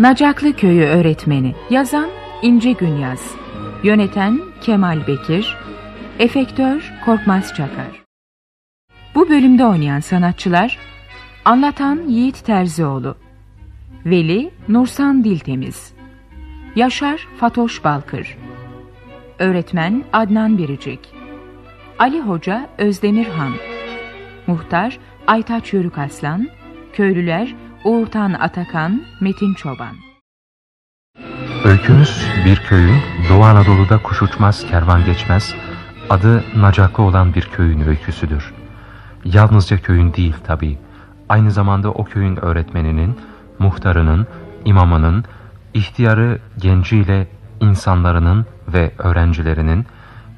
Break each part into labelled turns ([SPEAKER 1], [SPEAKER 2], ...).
[SPEAKER 1] Nacaklı Köyü Öğretmeni Yazan İnce Günyaz Yöneten Kemal Bekir Efektör Korkmaz Çakar Bu bölümde oynayan sanatçılar Anlatan Yiğit Terzioğlu Veli Nursan Diltemiz Yaşar Fatoş Balkır Öğretmen Adnan Biricik Ali Hoca Özdemir Han Muhtar Aytaç Yörük Aslan Köylüler Uğurtan Atakan Metin Çoban
[SPEAKER 2] Öykümüz bir köyün Doğu Anadolu'da kuş uçmaz kervan geçmez adı Nacaklı olan bir köyün öyküsüdür. Yalnızca köyün değil tabi. Aynı zamanda o köyün öğretmeninin, muhtarının, imamının, ihtiyarı genciyle insanların ve öğrencilerinin,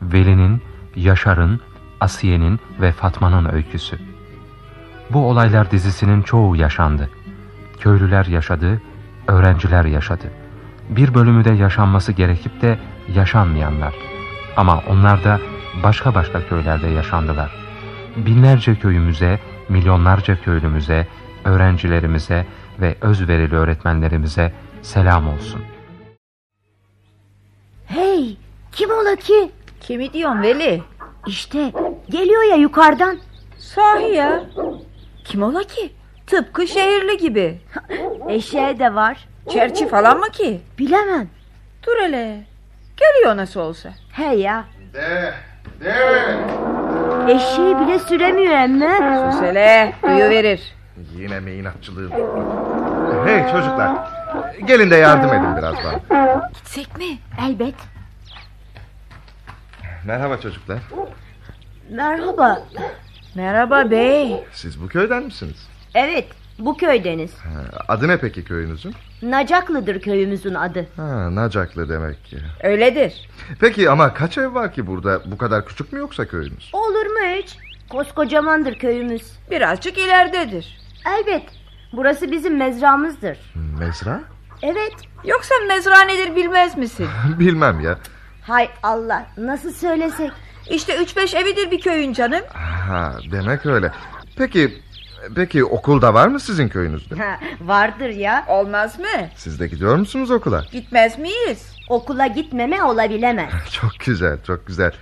[SPEAKER 2] Veli'nin, Yaşar'ın, Asiye'nin ve Fatma'nın öyküsü. Bu olaylar dizisinin çoğu yaşandı. Köylüler yaşadı, öğrenciler yaşadı. Bir bölümü de yaşanması gerekip de yaşanmayanlar. Ama onlar da başka başka köylerde yaşandılar. Binlerce köyümüze, milyonlarca köylümüze, öğrencilerimize ve özverili öğretmenlerimize selam olsun.
[SPEAKER 3] Hey kim ola ki?
[SPEAKER 4] Kimi diyorsun Veli?
[SPEAKER 3] İşte geliyor ya yukarıdan.
[SPEAKER 4] Sahi ya. Kim ola ki? Tıpkı şehirli gibi.
[SPEAKER 3] Eşeğe de var.
[SPEAKER 4] Çerçi falan mı ki?
[SPEAKER 3] Bilemem.
[SPEAKER 4] Dur hele. Geliyor nasıl olsa.
[SPEAKER 3] He ya.
[SPEAKER 5] De, de.
[SPEAKER 3] Eşeği bile süremiyor emme.
[SPEAKER 4] Sus hele. Duyuverir.
[SPEAKER 5] Yine mi inatçılığı tuttu? Hey çocuklar. Gelin de yardım edin biraz bana.
[SPEAKER 4] Gitsek mi?
[SPEAKER 3] Elbet.
[SPEAKER 5] Merhaba çocuklar.
[SPEAKER 3] Merhaba.
[SPEAKER 4] Merhaba bey.
[SPEAKER 5] Siz bu köyden misiniz?
[SPEAKER 3] Evet bu köydeniz.
[SPEAKER 5] Ha, Adı ne peki köyünüzün?
[SPEAKER 3] Nacaklı'dır köyümüzün adı.
[SPEAKER 5] Ha, Nacaklı demek ki.
[SPEAKER 4] Öyledir.
[SPEAKER 5] Peki ama kaç ev var ki burada? Bu kadar küçük mü yoksa köyünüz?
[SPEAKER 3] Olur mu hiç? Koskocamandır köyümüz.
[SPEAKER 4] Birazcık ileridedir.
[SPEAKER 3] Elbet. Burası bizim mezramızdır.
[SPEAKER 5] Mezra?
[SPEAKER 3] Evet.
[SPEAKER 4] Yoksa mezra nedir bilmez misin?
[SPEAKER 5] Bilmem ya.
[SPEAKER 3] Hay Allah nasıl söylesek.
[SPEAKER 4] İşte üç beş evidir bir köyün canım.
[SPEAKER 5] Ha, demek öyle. Peki Peki okulda var mı sizin köyünüzde?
[SPEAKER 3] Ha, vardır ya.
[SPEAKER 4] Olmaz mı?
[SPEAKER 5] Siz de gidiyor musunuz okula?
[SPEAKER 4] Gitmez miyiz?
[SPEAKER 3] Okula gitmeme olabilemez.
[SPEAKER 5] Çok güzel, çok güzel.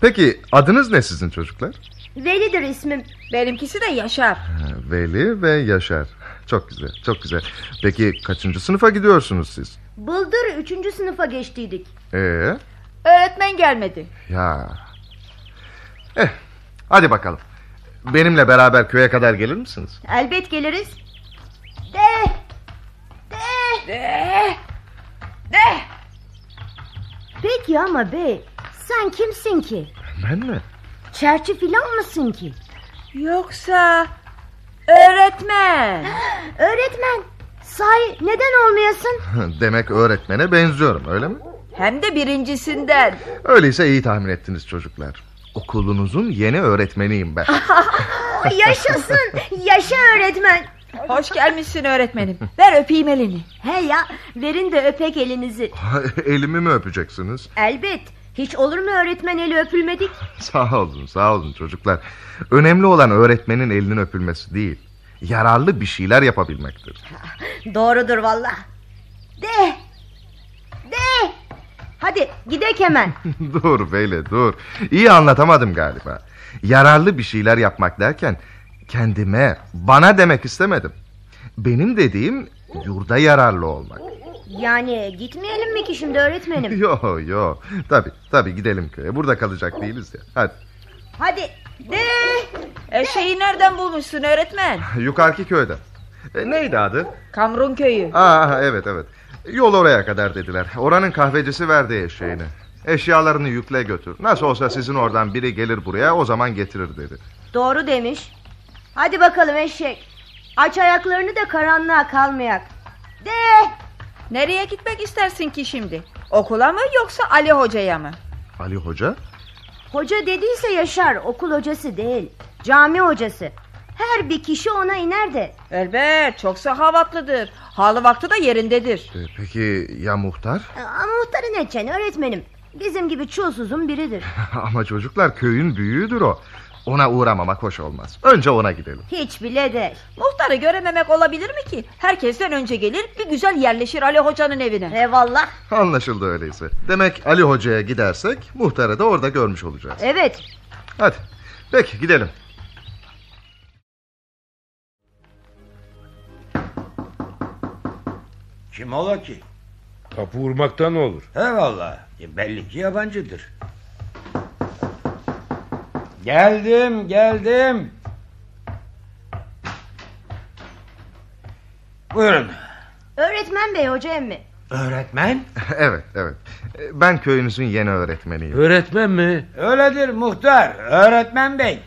[SPEAKER 5] Peki adınız ne sizin çocuklar?
[SPEAKER 3] Velidir ismim.
[SPEAKER 4] Benimkisi de Yaşar.
[SPEAKER 5] Veli ve Yaşar. Çok güzel, çok güzel. Peki kaçıncı sınıfa gidiyorsunuz siz?
[SPEAKER 3] Bıldır üçüncü sınıfa geçtiydik.
[SPEAKER 5] Ee,
[SPEAKER 4] Öğretmen gelmedi.
[SPEAKER 5] ya. Eh, hadi bakalım. Benimle beraber köye kadar gelir misiniz?
[SPEAKER 3] Elbet geliriz. De. De.
[SPEAKER 4] De. De.
[SPEAKER 3] Peki ama bey. Sen kimsin ki?
[SPEAKER 5] Ben mi?
[SPEAKER 3] Çerçi filan mısın ki?
[SPEAKER 4] Yoksa öğretmen.
[SPEAKER 3] Öğretmen. Sahi neden olmayasın?
[SPEAKER 5] Demek öğretmene benziyorum, öyle mi?
[SPEAKER 4] Hem de birincisinden.
[SPEAKER 5] Öyleyse iyi tahmin ettiniz çocuklar. Okulunuzun yeni öğretmeniyim ben.
[SPEAKER 3] Yaşasın. Yaşa öğretmen.
[SPEAKER 4] Hoş gelmişsin öğretmenim. Ver öpeyim elini.
[SPEAKER 3] He ya verin de öpek elinizi.
[SPEAKER 5] Elimi mi öpeceksiniz?
[SPEAKER 3] Elbet. Hiç olur mu öğretmen eli öpülmedik?
[SPEAKER 5] Sağ olun, sağ olun çocuklar. Önemli olan öğretmenin elinin öpülmesi değil. Yararlı bir şeyler yapabilmektir.
[SPEAKER 3] Doğrudur valla. De. De. Hadi gidek hemen.
[SPEAKER 5] dur Veli dur. İyi anlatamadım galiba. Yararlı bir şeyler yapmak derken kendime, bana demek istemedim. Benim dediğim yurda yararlı olmak.
[SPEAKER 3] Yani gitmeyelim mi ki şimdi öğretmenim?
[SPEAKER 5] Yo yo. Tabi tabi gidelim köye. Burada kalacak değiliz ya. Hadi.
[SPEAKER 3] Hadi. De.
[SPEAKER 4] Eşeği nereden bulmuşsun öğretmen?
[SPEAKER 5] Yukarıki köyden. E, neydi adı?
[SPEAKER 4] Kamrun köyü.
[SPEAKER 5] Aa evet evet. Yol oraya kadar dediler. Oranın kahvecisi verdi eşeğini. Eşyalarını yükle götür. Nasıl olsa sizin oradan biri gelir buraya o zaman getirir dedi.
[SPEAKER 3] Doğru demiş. Hadi bakalım eşek. Aç ayaklarını da karanlığa kalmayak. De.
[SPEAKER 4] Nereye gitmek istersin ki şimdi? Okula mı yoksa Ali Hoca'ya mı?
[SPEAKER 5] Ali Hoca?
[SPEAKER 3] Hoca dediyse Yaşar okul hocası değil. Cami hocası. Her bir kişi ona iner de.
[SPEAKER 4] Elbet çok sahavatlıdır. Halı vakti de yerindedir.
[SPEAKER 5] E, Peki ya muhtar?
[SPEAKER 3] Ee, Ama muhtarı ne çen öğretmenim. Bizim gibi çulsuzun biridir.
[SPEAKER 5] Ama çocuklar köyün büyüğüdür o. Ona uğramamak hoş olmaz. Önce ona gidelim.
[SPEAKER 3] Hiç bile değil.
[SPEAKER 4] Muhtarı görememek olabilir mi ki? Herkesten önce gelir bir güzel yerleşir Ali Hoca'nın evine.
[SPEAKER 3] Eyvallah.
[SPEAKER 5] Anlaşıldı öyleyse. Demek Ali Hoca'ya gidersek muhtarı da orada görmüş olacağız.
[SPEAKER 3] Evet.
[SPEAKER 5] Hadi. Peki gidelim.
[SPEAKER 6] Kim ola ki?
[SPEAKER 7] Kapı vurmaktan ne olur?
[SPEAKER 6] He valla. Belli ki yabancıdır. Geldim geldim. Buyurun.
[SPEAKER 3] Öğretmen bey hoca emmi.
[SPEAKER 6] Öğretmen?
[SPEAKER 5] evet, evet. Ee, Ben köyünüzün yeni öğretmeniyim.
[SPEAKER 7] Öğretmen mi?
[SPEAKER 6] Öyledir muhtar. Öğretmen bey.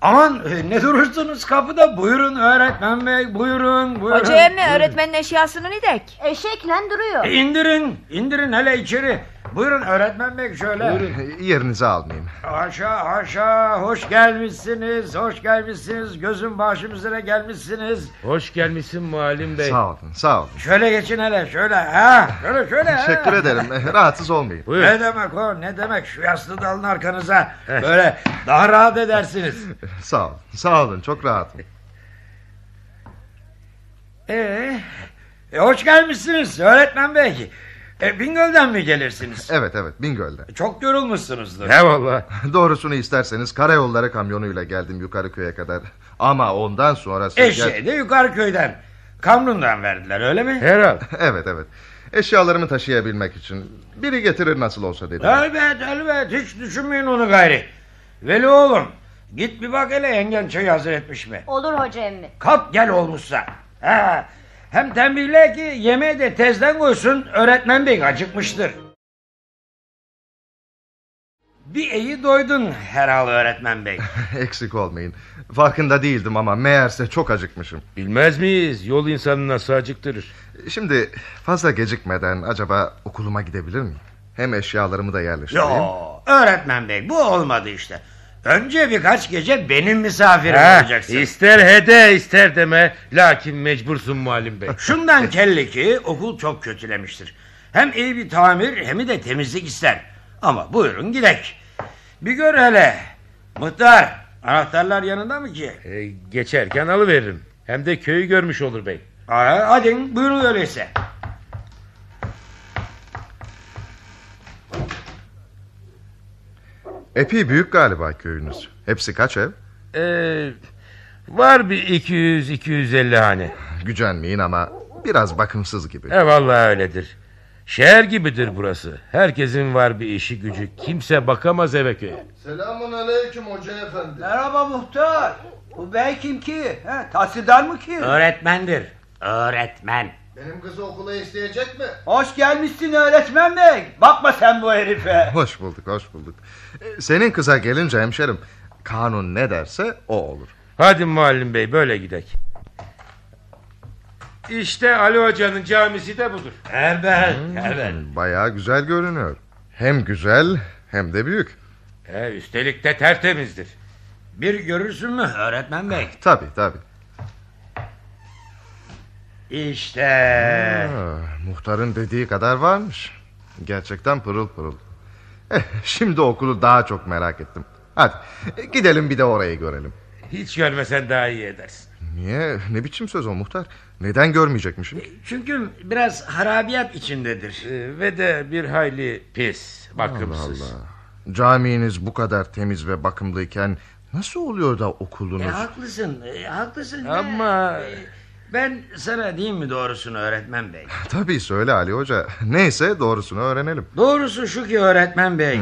[SPEAKER 6] Aman e, ne durursunuz kapıda buyurun öğretmen bey buyurun buyurun.
[SPEAKER 4] Hoca emmi
[SPEAKER 6] Buyurun.
[SPEAKER 4] öğretmenin eşyasını nidek.
[SPEAKER 3] Eşekle duruyor.
[SPEAKER 6] E, İndirin indirin hele içeri. Buyurun öğretmen bey şöyle.
[SPEAKER 5] Yerinizi almayayım.
[SPEAKER 6] Haşa haşa hoş gelmişsiniz hoş gelmişsiniz gözüm başım üzere gelmişsiniz.
[SPEAKER 7] Hoş gelmişsin muallim bey.
[SPEAKER 5] Sağ olun, sağ olun.
[SPEAKER 6] Şöyle geçin hele şöyle ha şöyle şöyle. ha.
[SPEAKER 5] Teşekkür ederim. Ee, Rahatsız olmayın.
[SPEAKER 7] Buyur.
[SPEAKER 6] Ne demek o ne demek şu yastığı da alın arkanıza
[SPEAKER 7] Eh.
[SPEAKER 6] böyle daha rahat edersiniz.
[SPEAKER 5] Sağ olun, sağ olun. Çok rahatım.
[SPEAKER 6] Ee, e, hoş gelmişsiniz öğretmen bey. E, Bingöl'den mi gelirsiniz? E,
[SPEAKER 5] Evet, evet. Bingöl'den.
[SPEAKER 6] Çok yorulmuşsunuzdur.
[SPEAKER 7] He valla.
[SPEAKER 5] Doğrusunu isterseniz karayolları kamyonuyla geldim yukarı köye kadar. Ama ondan sonrası...
[SPEAKER 6] Eşeği de yukarı köyden. Kamrun'dan verdiler öyle mi?
[SPEAKER 7] Herhal.
[SPEAKER 5] Evet, evet. Eşyalarımı taşıyabilmek için. Biri getirir nasıl olsa dedi.
[SPEAKER 6] Elbet elbet hiç düşünmeyin onu gayri. Veli oğlum git bir bak hele yengen çayı hazır etmiş mi?
[SPEAKER 3] Olur hoca emmi.
[SPEAKER 6] Kalk gel olmuşsa. Ha, hem tembihle ki yemeği de tezden koysun öğretmen bey acıkmıştır. Bir iyi doydun herhal öğretmen bey.
[SPEAKER 5] Eksik olmayın. Farkında değildim ama meğerse çok acıkmışım.
[SPEAKER 7] Bilmez miyiz? Yol insanı nasıl acıktırır?
[SPEAKER 5] Şimdi fazla gecikmeden acaba okuluma gidebilir miyim? Hem eşyalarımı da yerleştireyim.
[SPEAKER 6] Yo öğretmen bey bu olmadı işte. Önce birkaç gece benim misafirim olacaksın.
[SPEAKER 7] ister hede ister deme. Lakin mecbursun muallim bey.
[SPEAKER 6] Şundan kelli ki okul çok kötülemiştir. Hem iyi bir tamir hem de temizlik ister. Ama buyurun gidek. Bir gör hele. Muhtar anahtarlar yanında mı ki?
[SPEAKER 7] Ee, geçerken alıveririm. Hem de köyü görmüş olur bey.
[SPEAKER 6] Aa, hadi buyurun öyleyse.
[SPEAKER 5] Epey büyük galiba köyünüz. Hepsi kaç ev?
[SPEAKER 7] Ee, var bir 200-250 hane.
[SPEAKER 5] Gücenmeyin ama biraz bakımsız gibi.
[SPEAKER 7] He valla öyledir. Şehir gibidir burası. Herkesin var bir işi gücü. Kimse bakamaz eve köye.
[SPEAKER 8] Selamun aleyküm hoca efendi.
[SPEAKER 9] Merhaba muhtar. Bu bey kim ki? He, tahsildar mı ki?
[SPEAKER 6] Öğretmendir. Öğretmen.
[SPEAKER 8] Benim kızı okula isteyecek mi?
[SPEAKER 9] Hoş gelmişsin öğretmen bey. Bakma sen bu herife.
[SPEAKER 5] Hoş bulduk, hoş bulduk. Ee, Senin kıza gelince hemşerim, kanun ne derse o olur.
[SPEAKER 7] Hadi muallim bey böyle gidek. İşte Ali Hoca'nın camisi de budur.
[SPEAKER 6] Evet, evet.
[SPEAKER 5] Hmm, Bayağı güzel görünüyor. Hem güzel hem de büyük.
[SPEAKER 6] E,
[SPEAKER 7] He, üstelik de tertemizdir.
[SPEAKER 6] Bir görürsün mü öğretmen bey?
[SPEAKER 5] Tabii tabii.
[SPEAKER 6] İşte.
[SPEAKER 5] Ha, Ah, muhtarın dediği kadar varmış. Gerçekten pırıl pırıl. Eh, şimdi okulu daha çok merak ettim. Hadi e, gidelim bir de orayı görelim.
[SPEAKER 7] Hiç görmesen daha iyi edersin.
[SPEAKER 5] Niye? Ne biçim söz o muhtar? Neden görmeyecekmişim?
[SPEAKER 6] Çünkü biraz harabiyat içindedir.
[SPEAKER 7] Ee, ve de bir hayli pis, bakımsız.
[SPEAKER 5] Caminiz bu kadar temiz ve bakımlıyken nasıl oluyor da
[SPEAKER 6] E,
[SPEAKER 5] okulunuz?
[SPEAKER 6] haklısın, e, haklısın.
[SPEAKER 7] Ama-
[SPEAKER 6] E, ben sana diyeyim mi doğrusunu öğretmen bey?
[SPEAKER 5] Tabii söyle Ali Hoca. Neyse doğrusunu öğrenelim.
[SPEAKER 6] Doğrusu şu ki öğretmen bey.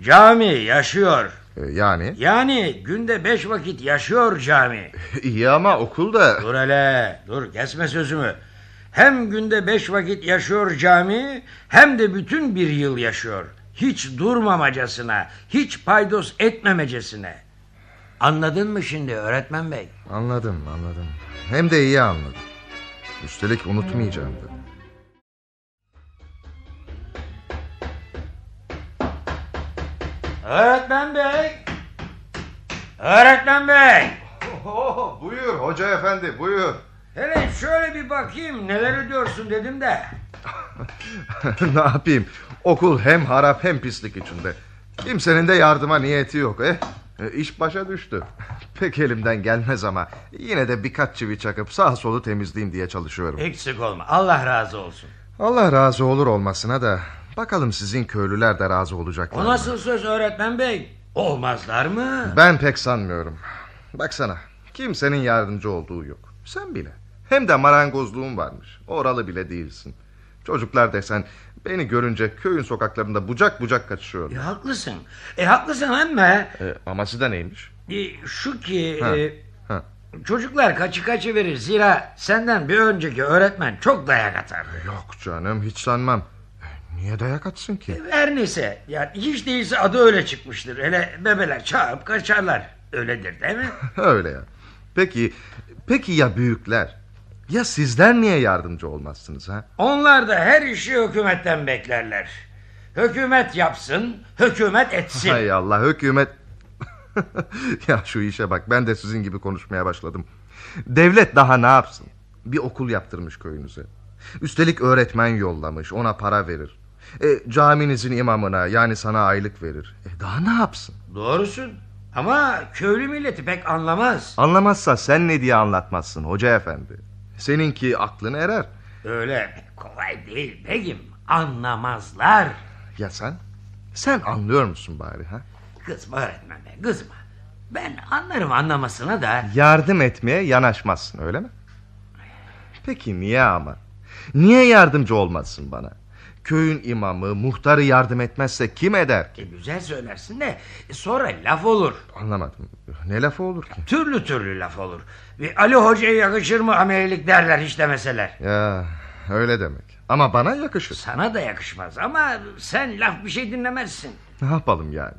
[SPEAKER 6] Cami yaşıyor.
[SPEAKER 5] E, Yani
[SPEAKER 6] Yani günde beş vakit yaşıyor cami.
[SPEAKER 5] iyi ama okul da
[SPEAKER 6] Dur hele dur kesme sözümü. Hem günde beş vakit yaşıyor cami hem de bütün bir yıl yaşıyor. Hiç durmamacasına, hiç paydos etmemecesine. Anladın mı şimdi öğretmen bey?
[SPEAKER 5] Anladım anladım. Hem de iyi anladım. Üstelik unutmayacağım da.
[SPEAKER 6] Öğretmen bey! Öğretmen bey!
[SPEAKER 5] buyur hoca efendi buyur.
[SPEAKER 6] Hele şöyle bir bakayım neler ediyorsun dedim de.
[SPEAKER 5] ne yapayım? Okul hem harap hem pislik içinde. Kimsenin de yardıma niyeti yok. Eh? E, İş başa düştü. Pek elimden gelmez ama yine de birkaç çivi çakıp sağ solu temizleyeyim diye çalışıyorum.
[SPEAKER 6] Eksik olma. Allah razı olsun.
[SPEAKER 5] Allah razı olur olmasına da bakalım sizin köylüler de razı olacaklar.
[SPEAKER 6] O
[SPEAKER 5] mı?
[SPEAKER 6] nasıl söz öğretmen bey? Olmazlar mı?
[SPEAKER 5] Ben pek sanmıyorum. Baksana kimsenin yardımcı olduğu yok. Sen bile. Hem de marangozluğun varmış. Oralı bile değilsin. Çocuklar desen beni görünce köyün sokaklarında bucak bucak kaçışıyorlar.
[SPEAKER 6] E, haklısın. E haklısın ama
[SPEAKER 5] E, aması da neymiş?
[SPEAKER 6] e, şu ki
[SPEAKER 5] Ha,
[SPEAKER 6] e,
[SPEAKER 5] ha.
[SPEAKER 6] çocuklar kaçı kaçı verir. Zira senden bir önceki öğretmen çok dayak atar.
[SPEAKER 5] Yok canım hiç sanmam. E, Niye dayak atsın ki?
[SPEAKER 6] Her neyse yani hiç değilse adı öyle çıkmıştır. Hele bebeler çağırıp kaçarlar. Öyledir değil mi?
[SPEAKER 5] Öyle ya. Peki, peki ya büyükler? Ya sizler niye yardımcı olmazsınız ha?
[SPEAKER 6] Onlar da her işi hükümetten beklerler. Hükümet yapsın, hükümet etsin.
[SPEAKER 5] Hay Allah hükümet. ya şu işe bak ben de sizin gibi konuşmaya başladım. Devlet daha ne yapsın? Bir okul yaptırmış köyünüze. Üstelik öğretmen yollamış ona para verir. E, caminizin imamına yani sana aylık verir. E, daha ne yapsın?
[SPEAKER 6] Doğrusun. Ama köylü milleti pek anlamaz.
[SPEAKER 5] Anlamazsa sen ne diye anlatmazsın hoca efendi. Seninki aklın erer.
[SPEAKER 6] Öyle kolay değil begim. Anlamazlar.
[SPEAKER 5] Ya sen? Sen anlıyor musun bari ha?
[SPEAKER 6] Kızma öğretmen be kızma. Ben anlarım anlamasına da.
[SPEAKER 5] Yardım etmeye yanaşmazsın öyle mi? Peki niye ama? Niye yardımcı olmazsın bana? Köyün imamı, muhtarı yardım etmezse kim eder ki?
[SPEAKER 6] E, güzel söylersin de e, sonra laf olur.
[SPEAKER 5] Anlamadım. Ne lafı olur ki?
[SPEAKER 6] Türlü türlü laf olur. Ve Ali Hoca'ya yakışır mı amelilik derler hiç demeseler.
[SPEAKER 5] Ya öyle demek. Ama bana yakışır.
[SPEAKER 6] Sana da yakışmaz ama sen laf bir şey dinlemezsin.
[SPEAKER 5] Ne yapalım yani?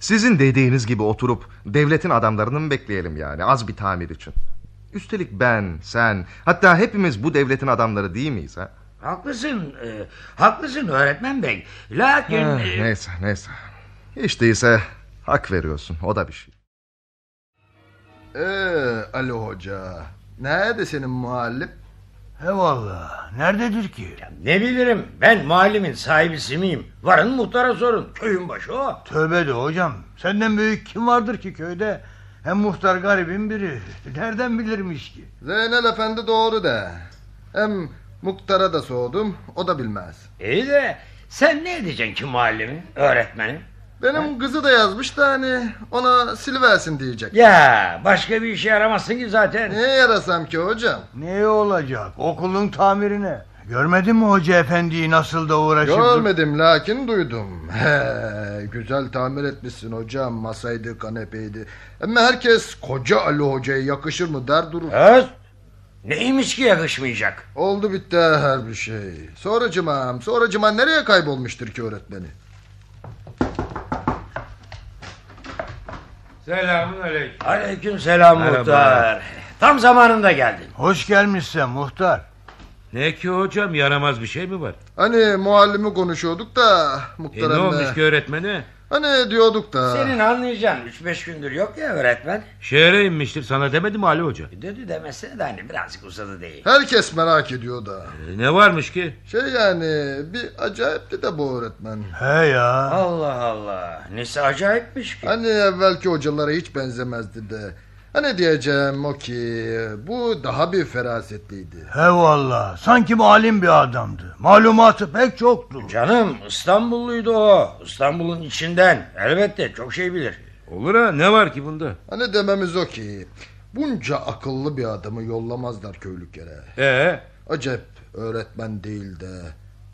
[SPEAKER 5] Sizin dediğiniz gibi oturup devletin adamlarını mı bekleyelim yani az bir tamir için? Üstelik ben, sen, hatta hepimiz bu devletin adamları değil miyiz ha?
[SPEAKER 6] Haklısın, e, haklısın öğretmen bey. Lakin...
[SPEAKER 5] Eh,
[SPEAKER 6] e,
[SPEAKER 5] neyse neyse. Hiç değilse hak veriyorsun o da bir şey.
[SPEAKER 8] Ee, Ali Hoca. Nerede senin muallim?
[SPEAKER 9] He valla nerededir ki?
[SPEAKER 6] Ne bileyim ben mahallemin sahibisi miyim? Varın muhtara sorun. Köyün başı o.
[SPEAKER 9] Tövbe de hocam senden büyük kim vardır ki köyde? Hem muhtar garibin biri. Nereden bilirmiş ki?
[SPEAKER 8] Zeynel Efendi doğru de. Hem muhtara da sordum, o da bilmez.
[SPEAKER 6] İyi de sen ne edeceksin ki mahallemi? Öğretmenim.
[SPEAKER 8] Benim kızı da yazmış da hani ona siliversin diyecek.
[SPEAKER 6] Ya başka bir işe yaramasın ki zaten.
[SPEAKER 8] Niye yarasam ki hocam?
[SPEAKER 9] Ne olacak? Okulun tamirine. Görmedin mi hoca efendiyi nasıl da uğraşıp...
[SPEAKER 8] Görmedim lakin duydum. He, güzel tamir etmişsin hocam. Masaydı, kanepeydi. Ama herkes koca Ali Hoca'ya yakışır mı der durur.
[SPEAKER 6] Öz. Neymiş ki yakışmayacak?
[SPEAKER 8] Oldu bitti her bir şey. Sonracımam, sonracıma nereye kaybolmuştur ki öğretmeni?
[SPEAKER 7] Selamun aleyküm.
[SPEAKER 6] Aleyküm selam
[SPEAKER 7] Merhaba.
[SPEAKER 6] muhtar. Tam zamanında geldin.
[SPEAKER 9] Hoş gelmişsin muhtar.
[SPEAKER 7] Ne ki hocam yaramaz bir şey mi var?
[SPEAKER 8] Hani muallimi konuşuyorduk da
[SPEAKER 7] E,
[SPEAKER 8] muhtar
[SPEAKER 7] ne olmuş
[SPEAKER 8] emme.
[SPEAKER 7] ki öğretmene?
[SPEAKER 8] Hani diyorduk da.
[SPEAKER 6] Senin anlayacağın 3-5 gündür yok ya öğretmen.
[SPEAKER 7] Şehre inmiştir sana demedi mi Ali Hoca?
[SPEAKER 6] Dedi demesine de hani birazcık uzadı değil.
[SPEAKER 8] Herkes merak ediyor da.
[SPEAKER 7] E, ne varmış ki?
[SPEAKER 8] Şey yani bir acayipti de bu öğretmen.
[SPEAKER 9] He ya.
[SPEAKER 6] Allah Allah. Nesi acayipmiş ki.
[SPEAKER 8] Hani evvelki hocalara hiç benzemezdi de. Hani diyeceğim o ki bu daha bir ferasetliydi.
[SPEAKER 9] He valla sanki alim bir adamdı. Malumatı pek çoktu.
[SPEAKER 6] Canım İstanbulluydu o. İstanbul'un içinden. Elbette çok şey bilir.
[SPEAKER 7] Olur ha ne var ki bunda?
[SPEAKER 8] Hani dememiz o ki bunca akıllı bir adamı yollamazlar köylük yere.
[SPEAKER 7] Ee,
[SPEAKER 8] Acep öğretmen değil de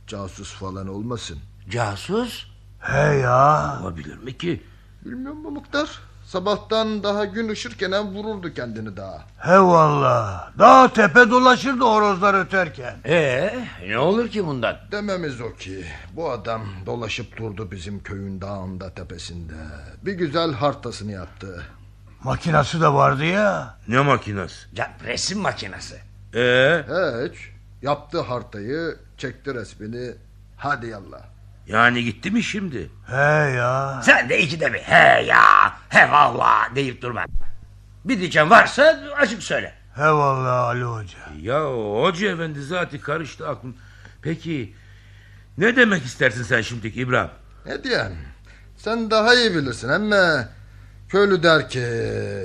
[SPEAKER 8] casus falan olmasın.
[SPEAKER 6] Casus?
[SPEAKER 9] He ya.
[SPEAKER 6] Olabilir mi ki?
[SPEAKER 8] Bilmiyor musun Muhtar? Sabahtan daha gün ışırken vururdu kendini daha.
[SPEAKER 9] He valla. Daha tepe dolaşırdı horozlar öterken.
[SPEAKER 6] Ee, ne olur ki bundan?
[SPEAKER 8] Dememiz o ki bu adam dolaşıp durdu bizim köyün dağında tepesinde. Bir güzel hartasını yaptı.
[SPEAKER 9] Makinası da vardı ya.
[SPEAKER 7] ne makinası?
[SPEAKER 6] Ya resim makinesi.
[SPEAKER 7] Ee,
[SPEAKER 8] Hiç yaptı hartayı çekti resmini hadi yallah.
[SPEAKER 7] yani gitti mi şimdi?
[SPEAKER 9] He ya.
[SPEAKER 6] Sen de ikide bir he ya he valla deyip durma. Bir diyeceğim varsa açık söyle.
[SPEAKER 9] He valla Ali Hoca.
[SPEAKER 7] Ya hoca efendi zaten karıştı aklım. Peki ne demek istersin sen şimdiki İbrahim?
[SPEAKER 8] Ne diyen? Sen daha iyi bilirsin ama Köylü der ki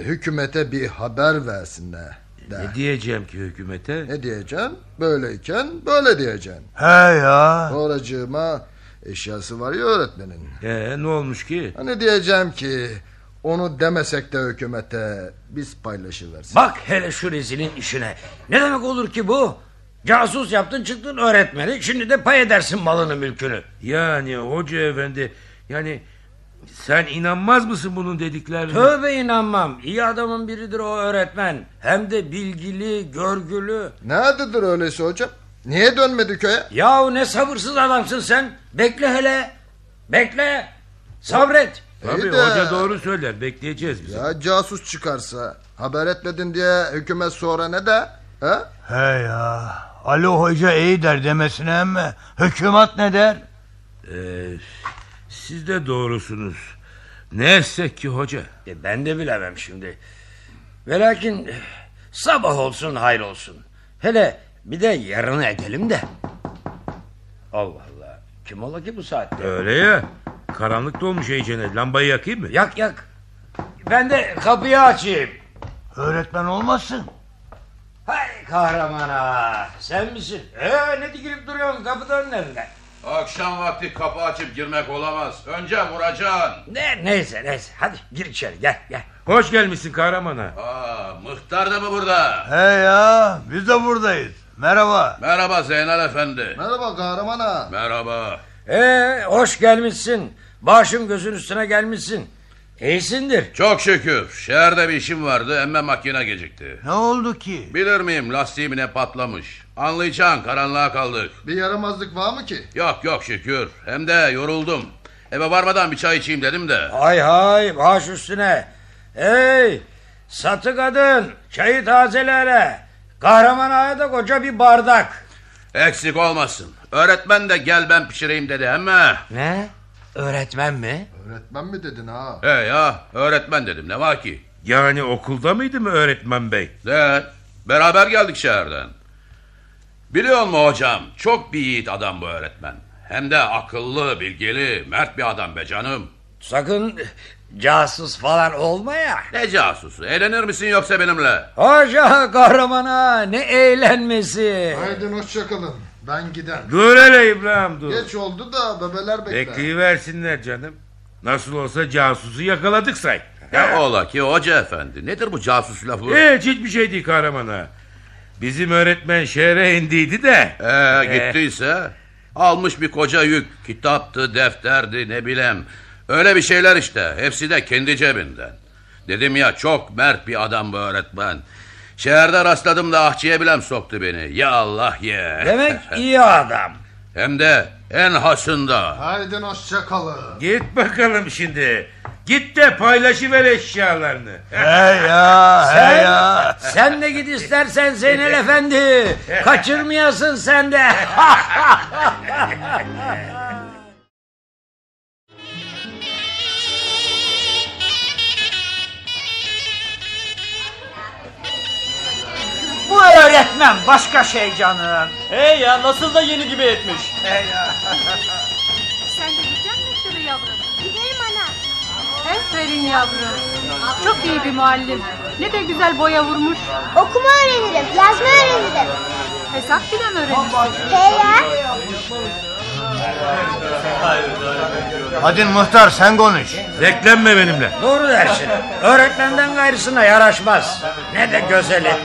[SPEAKER 8] hükümete bir haber versinler.
[SPEAKER 7] Ne diyeceğim ki hükümete?
[SPEAKER 8] Ne diyeceksin? Böyleyken böyle diyeceksin.
[SPEAKER 9] He ya.
[SPEAKER 8] Sonracığıma eşyası var ya öğretmenin.
[SPEAKER 7] Ee, ne olmuş ki?
[SPEAKER 8] Hani diyeceğim ki onu demesek de hükümete biz paylaşıversin.
[SPEAKER 6] Bak hele şu rezilin işine. Ne demek olur ki bu? Casus yaptın çıktın öğretmeni. Şimdi de pay edersin malını mülkünü.
[SPEAKER 7] Yani hoca efendi yani sen inanmaz mısın bunun dediklerine?
[SPEAKER 6] Tövbe inanmam. İyi adamın biridir o öğretmen. Hem de bilgili, görgülü.
[SPEAKER 8] Ne adıdır öyleyse hocam? Niye dönmedi köye?
[SPEAKER 6] Yahu ne sabırsız adamsın sen. Bekle hele. Bekle. Sabret.
[SPEAKER 7] Tabii
[SPEAKER 8] İyi de-
[SPEAKER 7] hoca doğru söyler bekleyeceğiz biz.
[SPEAKER 8] Ya casus çıkarsa haber etmedin diye hükümet sonra ne de? He?
[SPEAKER 9] He ya. Ali Hoca iyi der demesine ama hükümet ne der?
[SPEAKER 7] Ee, siz de doğrusunuz. Ne etsek ki hoca?
[SPEAKER 6] E, ben de bilemem şimdi. Velakin eh, sabah olsun hayır olsun. Hele bir de yarını edelim de. Allah Allah. Kim ola ki bu saatte?
[SPEAKER 7] Öyle ya. Karanlık da olmuş iyicene. Lambayı yakayım mı?
[SPEAKER 6] Yak yak. Ben de kapıyı açayım.
[SPEAKER 9] Öğretmen olmasın.
[SPEAKER 6] Hay kahraman ha. Sen misin? Ee, ne dikilip duruyorsun kapıda önlerinde?
[SPEAKER 10] Akşam vakti kapı açıp girmek olamaz. Önce vuracaksın.
[SPEAKER 6] Ne, neyse neyse. Hadi gir içeri gel gel.
[SPEAKER 7] Hoş gelmişsin kahramana.
[SPEAKER 10] Aa, mıhtar da mı burada?
[SPEAKER 9] He ya. Biz de buradayız. Merhaba.
[SPEAKER 10] Merhaba Zeynel Efendi.
[SPEAKER 8] Merhaba kahraman ağa.
[SPEAKER 10] Merhaba.
[SPEAKER 6] Ee, hoş gelmişsin. Başım gözün üstüne gelmişsin. İyisindir.
[SPEAKER 10] Çok şükür. Şehirde bir işim vardı emme makine gecikti.
[SPEAKER 9] Ne oldu ki?
[SPEAKER 10] Bilir miyim lastiğim ne patlamış. Anlayacaksın karanlığa kaldık.
[SPEAKER 8] Bir yaramazlık var mı ki?
[SPEAKER 10] Yok yok şükür. Hem de yoruldum. Eve varmadan bir çay içeyim dedim de.
[SPEAKER 6] Hay hay baş üstüne. Hey satı kadın çayı tazele hele. Kahraman ağaya da koca bir bardak.
[SPEAKER 10] Eksik olmasın. Öğretmen de gel ben pişireyim dedi ama.
[SPEAKER 6] Ne? Öğretmen mi?
[SPEAKER 8] Öğretmen mi dedin ha?
[SPEAKER 10] He ya öğretmen dedim ne var ki?
[SPEAKER 7] Yani okulda mıydı mı öğretmen bey?
[SPEAKER 10] Evet. Beraber geldik şehirden. Biliyor musun hocam? Çok bir yiğit adam bu öğretmen. Hem de akıllı, bilgili, mert bir adam be canım.
[SPEAKER 6] Sakın casus falan olma ya.
[SPEAKER 10] Ne casusu? Eğlenir misin yoksa benimle?
[SPEAKER 6] Hoca kahraman ağa ne eğlenmesi.
[SPEAKER 8] Haydi hoşçakalın. Ben giden.
[SPEAKER 7] Dur hele İbrahim dur.
[SPEAKER 8] Geç oldu da bebeler bekler.
[SPEAKER 7] Bekleyiversinler canım. Nasıl olsa casusu yakaladık say.
[SPEAKER 10] Ya ola ki hoca efendi. Nedir bu casus lafı?
[SPEAKER 7] Hiç hiçbir şey değil kahramana. Bizim öğretmen
[SPEAKER 6] şey-
[SPEAKER 7] şehre indiydi de. Eh.
[SPEAKER 10] Ee, gittiyse almış bir koca yük. Kitaptı, defterdi ne bileyim. Öyle bir şeyler işte. Hepsi de kendi cebinden. Dedim ya çok mert bir adam bu öğretmen. Şehirde rastladım da ahçıya bilem soktu beni. Ya Allah ye.
[SPEAKER 6] Demek iyi adam.
[SPEAKER 10] Hem de en hasında.
[SPEAKER 8] Haydi hoşçakalın.
[SPEAKER 7] Git bakalım şimdi. Git de paylaşıver eşyalarını.
[SPEAKER 9] He ya. He ya.
[SPEAKER 6] Sen de git istersen Zeynel Efendi. Kaçırmayasın sen de.
[SPEAKER 4] Bu öğretmen başka şey canım.
[SPEAKER 11] Hey ya nasıl da yeni gibi etmiş.
[SPEAKER 12] Sen de gidecek misin yavrum? Giderim ana. Aferin yavrum. Çok iyi bir muallim. Ne de güzel boya vurmuş.
[SPEAKER 3] Okuma öğrenirim, yazma öğrenirim.
[SPEAKER 12] Hesap bile mi öğrenmiş?
[SPEAKER 3] He ya.
[SPEAKER 9] Hadi muhtar sen konuş.
[SPEAKER 7] Beklenme benimle.
[SPEAKER 6] Doğru dersin. Öğretmenden gayrısına yaraşmaz. Ne de gözel etti.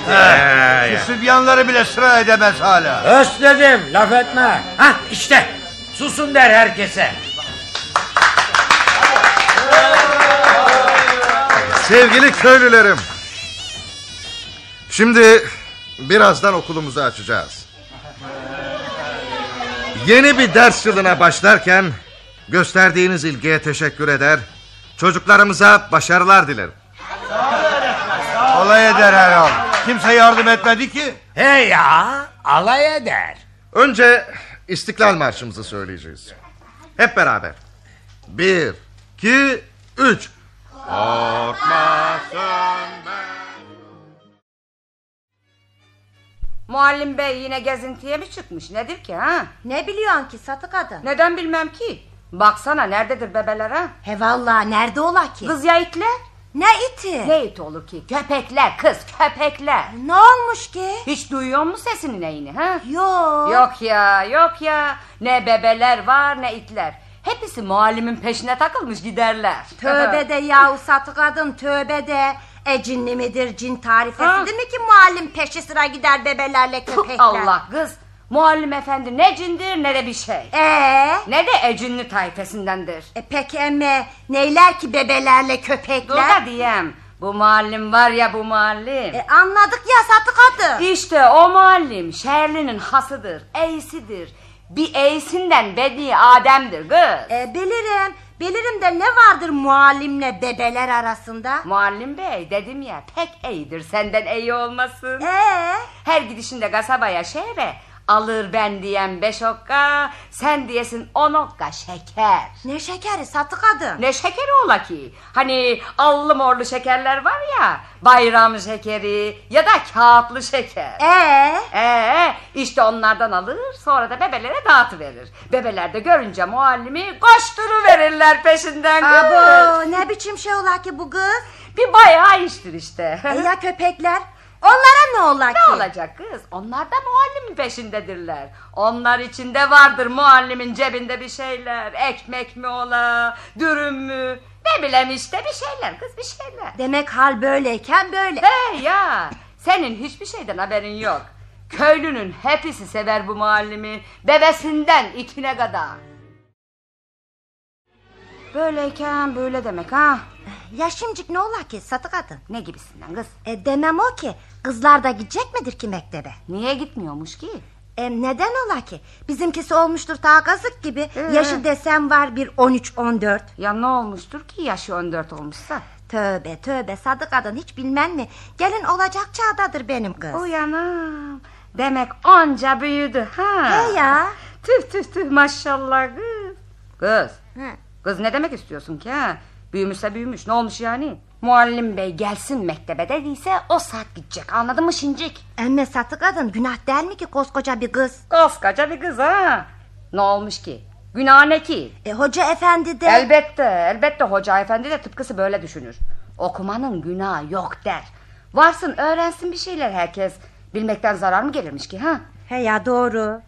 [SPEAKER 9] Şu sübyanları bile sıra edemez hala.
[SPEAKER 6] Ös dedim laf etme. Hah işte susun der herkese.
[SPEAKER 5] Sevgili köylülerim. Şimdi birazdan okulumuzu açacağız. Yeni bir ders yılına başlarken gösterdiğiniz ilgiye teşekkür eder. Çocuklarımıza başarılar dilerim.
[SPEAKER 9] Olay eder herhal. Kimse yardım etmedi ki.
[SPEAKER 6] He ya alay eder.
[SPEAKER 5] Önce İstiklal Marşımızı söyleyeceğiz. Hep beraber. Bir, iki, üç.
[SPEAKER 4] Muallim bey yine gezintiye mi çıkmış nedir ki ha?
[SPEAKER 3] Ne biliyorsun ki satı kadın?
[SPEAKER 4] Neden bilmem ki? Baksana nerededir bebeler ha?
[SPEAKER 3] He vallahi nerede ola ki?
[SPEAKER 4] Kız ya itler.
[SPEAKER 13] Ne iti?
[SPEAKER 14] Ne it olur ki? Köpekler kız köpekler.
[SPEAKER 13] Ne olmuş ki?
[SPEAKER 14] Hiç duyuyor musun sesinin neyini ha?
[SPEAKER 13] Yok.
[SPEAKER 14] Yok ya yok ya. Ne bebeler var ne itler. Hepsi muallimin peşine takılmış giderler.
[SPEAKER 13] Tövbe de yahu satı kadın tövbe de. E cinli midir cin tarifesidir mi ki muallim peşi sıra gider bebelerle köpekler.
[SPEAKER 14] Allah kız. Muallim efendi ne cindir ne de bir şey.
[SPEAKER 13] Ee?
[SPEAKER 14] Ne de ecinli tayfesindendir.
[SPEAKER 13] E peki emme neyler ki bebelerle
[SPEAKER 14] Dur
[SPEAKER 13] köpekler?
[SPEAKER 14] da diyem. Bu muallim var ya bu muallim.
[SPEAKER 13] E anladık ya satı kadın.
[SPEAKER 14] İşte o muallim şerlinin hasıdır, eğsidir. Bir eğsinden bedi Adem'dir kız.
[SPEAKER 13] E bilirim. Bilirim de ne vardır muallimle bebeler arasında?
[SPEAKER 14] Muallim bey dedim ya pek iyidir senden iyi olmasın.
[SPEAKER 13] Ee?
[SPEAKER 14] Her gidişinde kasabaya şehre alır ben diyen beş okka sen diyesin on okka şeker.
[SPEAKER 13] Ne şekeri satı kadın?
[SPEAKER 14] Ne şekeri ola ki? Hani allı morlu şekerler var ya bayram şekeri ya da kağıtlı şeker.
[SPEAKER 13] Ee?
[SPEAKER 14] Ee işte onlardan alır sonra da bebelere dağıtıverir. Bebeler de görünce muallimi koşturuverirler peşinden. kız.
[SPEAKER 13] Abo ne biçim şey ola ki bu kız?
[SPEAKER 14] Bir bayağı iştir işte.
[SPEAKER 13] E ya köpekler? Onlara ne ola ki?
[SPEAKER 14] Ne olacak kız? Onlar da muallimin peşindedirler. Onlar içinde vardır muallimin cebinde bir şeyler. Ekmek mi ola, dürüm mü? Ne bileyim işte bir şeyler kız bir şeyler.
[SPEAKER 13] Demek hal böyleyken böyle.
[SPEAKER 14] He ya senin hiçbir şeyden haberin yok. Köylünün hepsi sever bu muallimi. Bebesinden itine kadar. Böyleyken böyle demek ha.
[SPEAKER 13] Ya şimdicik ne ola ki satı kadın?
[SPEAKER 14] Ne gibisinden kız?
[SPEAKER 13] E demem o ki kızlar da gidecek midir ki mektebe?
[SPEAKER 14] Niye gitmiyormuş ki?
[SPEAKER 13] E neden ola ki? Bizimkisi olmuştur ta kazık gibi. Yaşı desem var bir 13-14.
[SPEAKER 14] Ee. Ya ne olmuştur ki yaşı 14 olmuşsa?
[SPEAKER 13] Tövbe tövbe sadık kadın hiç bilmen mi? Gelin olacak çağdadır benim kız.
[SPEAKER 14] Uyanam. Demek onca büyüdü ha.
[SPEAKER 13] He ya.
[SPEAKER 14] Tüh tüh tüh maşallah kız. Kız.
[SPEAKER 13] Hı.
[SPEAKER 14] Kız ne demek istiyorsun ki ha? Büyümüşse büyümüş. Ne olmuş yani? Muallim bey gelsin mektebe dediyse o saat gidecek. Anladın mı şincik?
[SPEAKER 13] Emme satı kadın günah değil mi ki koskoca bir kız?
[SPEAKER 14] Koskoca bir kız ha. Ne olmuş ki? Günah ne ki?
[SPEAKER 13] E hoca efendi de...
[SPEAKER 14] Elbette, elbette hoca efendi de tıpkısı böyle düşünür. Okumanın günahı yok der. Varsın öğrensin bir şeyler herkes. Bilmekten zarar mı gelirmiş ki ha?
[SPEAKER 13] He ya doğru.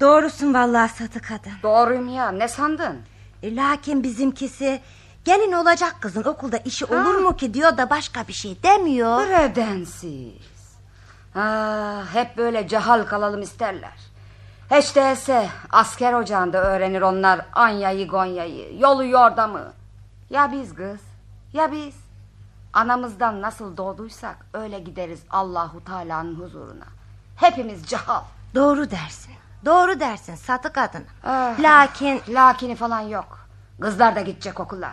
[SPEAKER 13] Doğrusun vallahi satı kadın.
[SPEAKER 14] Doğruyum ya ne sandın?
[SPEAKER 13] E, lakin bizimkisi gelin olacak kızın okulda işi olur mu ki diyor da başka bir şey demiyor.
[SPEAKER 14] Neredensiz? Ah, hep böyle cehal kalalım isterler. Hiç değilse asker ocağında öğrenir onlar Anya'yı Gonya'yı, yolu yordamı. Ya biz kız, ya biz. Anamızdan nasıl doğduysak öyle gideriz Allahu Teala'nın huzuruna. Hepimiz cehal.
[SPEAKER 13] Doğru dersin. Doğru dersin satı kadın.
[SPEAKER 14] Ah,
[SPEAKER 13] Lakin
[SPEAKER 14] Lakini falan yok. Kızlar da gidecek okula.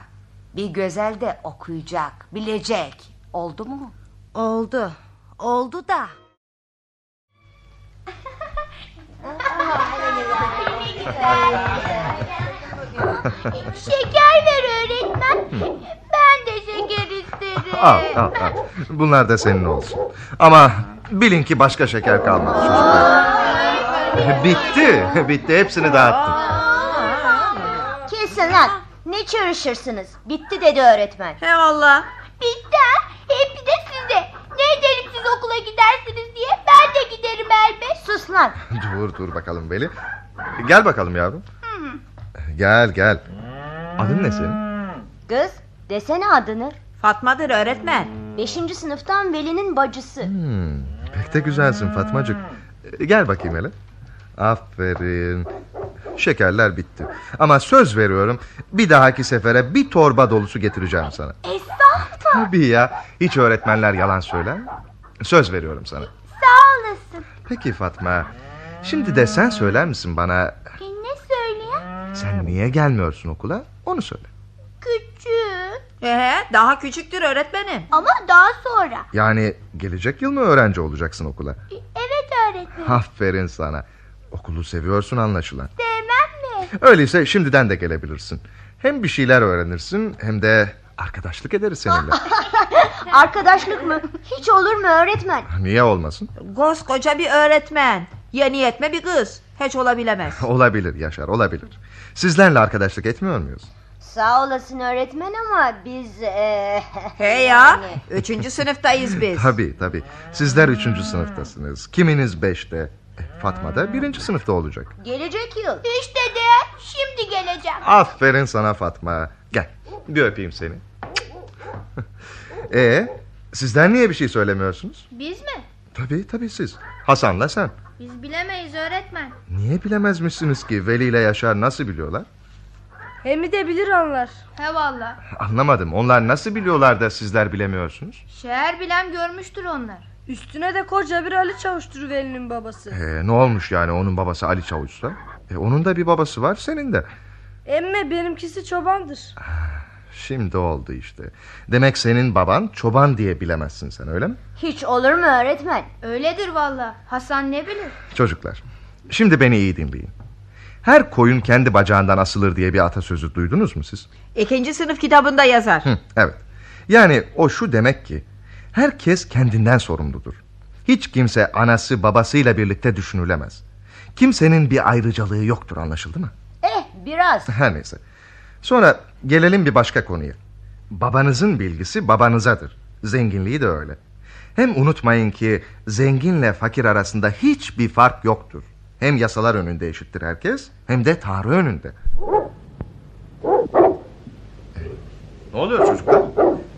[SPEAKER 14] Bir güzel de okuyacak, bilecek. Oldu mu?
[SPEAKER 13] oldu. Oldu da.
[SPEAKER 15] Şeker ver öğretmen. Ben de şeker isterim.
[SPEAKER 5] Al, al, al. Bunlar da senin olsun. Ama bilin ki başka şeker kalmadı çocuklar. bitti, bitti. Hepsini dağıttım.
[SPEAKER 16] Kesin lan. Ne çırışırsınız? Bitti dedi öğretmen.
[SPEAKER 4] He valla.
[SPEAKER 15] Bitti ha? Hep de size. Ne derim siz okula gidersiniz diye. Ben de giderim elbet.
[SPEAKER 16] Sus lan.
[SPEAKER 5] Dur, dur bakalım Veli. Gel bakalım yavrum.
[SPEAKER 12] Hmm.
[SPEAKER 5] Gel, gel. Adın ne senin?
[SPEAKER 16] Kız desene adını.
[SPEAKER 4] Fatma'dır öğretmen.
[SPEAKER 16] Beşinci sınıftan Veli'nin bacısı.
[SPEAKER 5] Hmm, pek de güzelsin Fatmacık. Ee, Gel bakayım hele. Aferin. Şekerler bitti. Ama söz veriyorum bir dahaki sefere bir torba dolusu getireceğim sana.
[SPEAKER 15] Estağfurullah.
[SPEAKER 5] Tabii ya. Hiç öğretmenler yalan söyler. mi? Söz veriyorum sana.
[SPEAKER 15] Sağ olasın.
[SPEAKER 5] Peki Fatma. Şimdi de sen söyler misin bana
[SPEAKER 15] E, ne söyleyeyim?
[SPEAKER 5] sen niye gelmiyorsun okula? Onu söyle.
[SPEAKER 15] Küçük.
[SPEAKER 4] Ee, daha küçüktür öğretmenim.
[SPEAKER 15] Ama daha sonra.
[SPEAKER 5] Yani gelecek yıl mı öğrenci olacaksın okula?
[SPEAKER 15] E, Evet öğretmenim.
[SPEAKER 5] Aferin sana. Okulu seviyorsun anlaşılan.
[SPEAKER 15] Sevmem mi?
[SPEAKER 5] Öyleyse şimdiden de gelebilirsin. Hem bir şeyler öğrenirsin hem de arkadaşlık ederiz seninle.
[SPEAKER 16] Arkadaşlık mı? Hiç olur mu öğretmen?
[SPEAKER 5] Niye olmasın?
[SPEAKER 4] Koskoca bir öğretmen. Yeni yetme bir kız. Hiç olabilemez.
[SPEAKER 5] Olabilir Yaşar olabilir. Sizlerle arkadaşlık etmiyor muyuz?
[SPEAKER 3] Sağ olasın öğretmen ama biz... e, eee
[SPEAKER 4] Hey ya. Üçüncü sınıftayız biz.
[SPEAKER 5] Tabii tabii. Sizler üçüncü sınıftasınız. Kiminiz beşte? Fatma da birinci sınıfta olacak.
[SPEAKER 3] Gelecek yıl.
[SPEAKER 15] Hiç de şimdi geleceğim.
[SPEAKER 5] Aferin sana Fatma. Gel bir öpeyim seni. Ee, sizden niye bir şey söylemiyorsunuz?
[SPEAKER 15] Biz mi?
[SPEAKER 5] Tabii tabii siz. Hasan'la sen.
[SPEAKER 15] Biz bilemeyiz öğretmen.
[SPEAKER 5] Niye bilemezmişsiniz ki Veli ile Yaşar nasıl biliyorlar?
[SPEAKER 16] Hem de bilir onlar.
[SPEAKER 15] He valla.
[SPEAKER 5] Anlamadım. Onlar nasıl biliyorlar da sizler bilemiyorsunuz?
[SPEAKER 15] Şehir bilen görmüştür onlar.
[SPEAKER 16] Üstüne de koca bir Ali Çavuş'tur Veli'nin babası.
[SPEAKER 5] Ee, ne olmuş yani onun babası Ali Çavuş'sa? E, onun da bir babası var senin de.
[SPEAKER 16] Emme benimkisi çobandır.
[SPEAKER 5] Şimdi oldu işte. Demek senin baban çoban diye bilemezsin sen öyle mi?
[SPEAKER 3] Hiç olur mu öğretmen?
[SPEAKER 15] Öyledir valla. Hasan ne bilir?
[SPEAKER 5] Çocuklar, şimdi beni iyi dinleyin. Her koyun kendi bacağından asılır diye bir atasözü duydunuz mu siz?
[SPEAKER 4] İkinci sınıf kitabında yazar.
[SPEAKER 5] Hı, evet. Yani o şu demek ki herkes kendinden sorumludur. Hiç kimse anası babasıyla birlikte düşünülemez. Kimsenin bir ayrıcalığı yoktur anlaşıldı mı?
[SPEAKER 3] Eh biraz.
[SPEAKER 5] Her neyse. Sonra gelelim bir başka konuya. Babanızın bilgisi babanızadır. Zenginliği de öyle. Hem unutmayın ki zenginle fakir arasında hiçbir fark yoktur. Hem yasalar önünde eşittir herkes hem de Tanrı önünde. Ne oluyor çocuklar?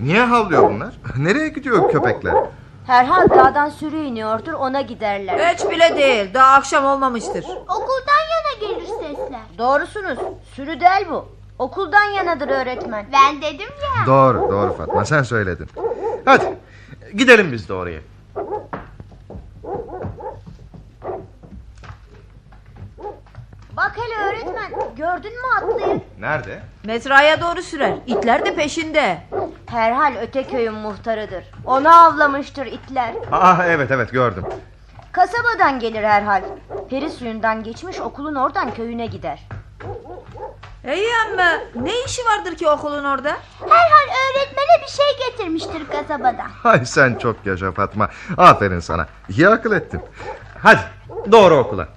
[SPEAKER 5] Niye havlıyor bunlar? Nereye gidiyor köpekler?
[SPEAKER 3] Herhal dağdan sürü iniyordur ona giderler.
[SPEAKER 4] Hiç bile değil. Daha akşam olmamıştır.
[SPEAKER 15] Okuldan yana gelir sesler.
[SPEAKER 3] Doğrusunuz. Sürü değil bu. Okuldan yanadır öğretmen.
[SPEAKER 15] Ben dedim ya.
[SPEAKER 5] Doğru doğru Fatma sen söyledin. Hadi gidelim biz de oraya.
[SPEAKER 3] Bak hele öğretmen. Gördün mü atlıyı?
[SPEAKER 5] Nerede?
[SPEAKER 4] Mezraya doğru sürer. İtler de peşinde.
[SPEAKER 3] Herhal öte köyün muhtarıdır. Onu avlamıştır itler.
[SPEAKER 5] Aa evet evet gördüm.
[SPEAKER 3] Kasabadan gelir herhal. Peri suyundan geçmiş okulun oradan köyüne gider.
[SPEAKER 4] İyi ama ne işi vardır ki okulun orada?
[SPEAKER 15] Herhal öğretmene bir şey getirmiştir kasabadan.
[SPEAKER 5] Hay sen çok yaşa Fatma. Aferin sana. İyi akıl ettin. Hadi doğru okula.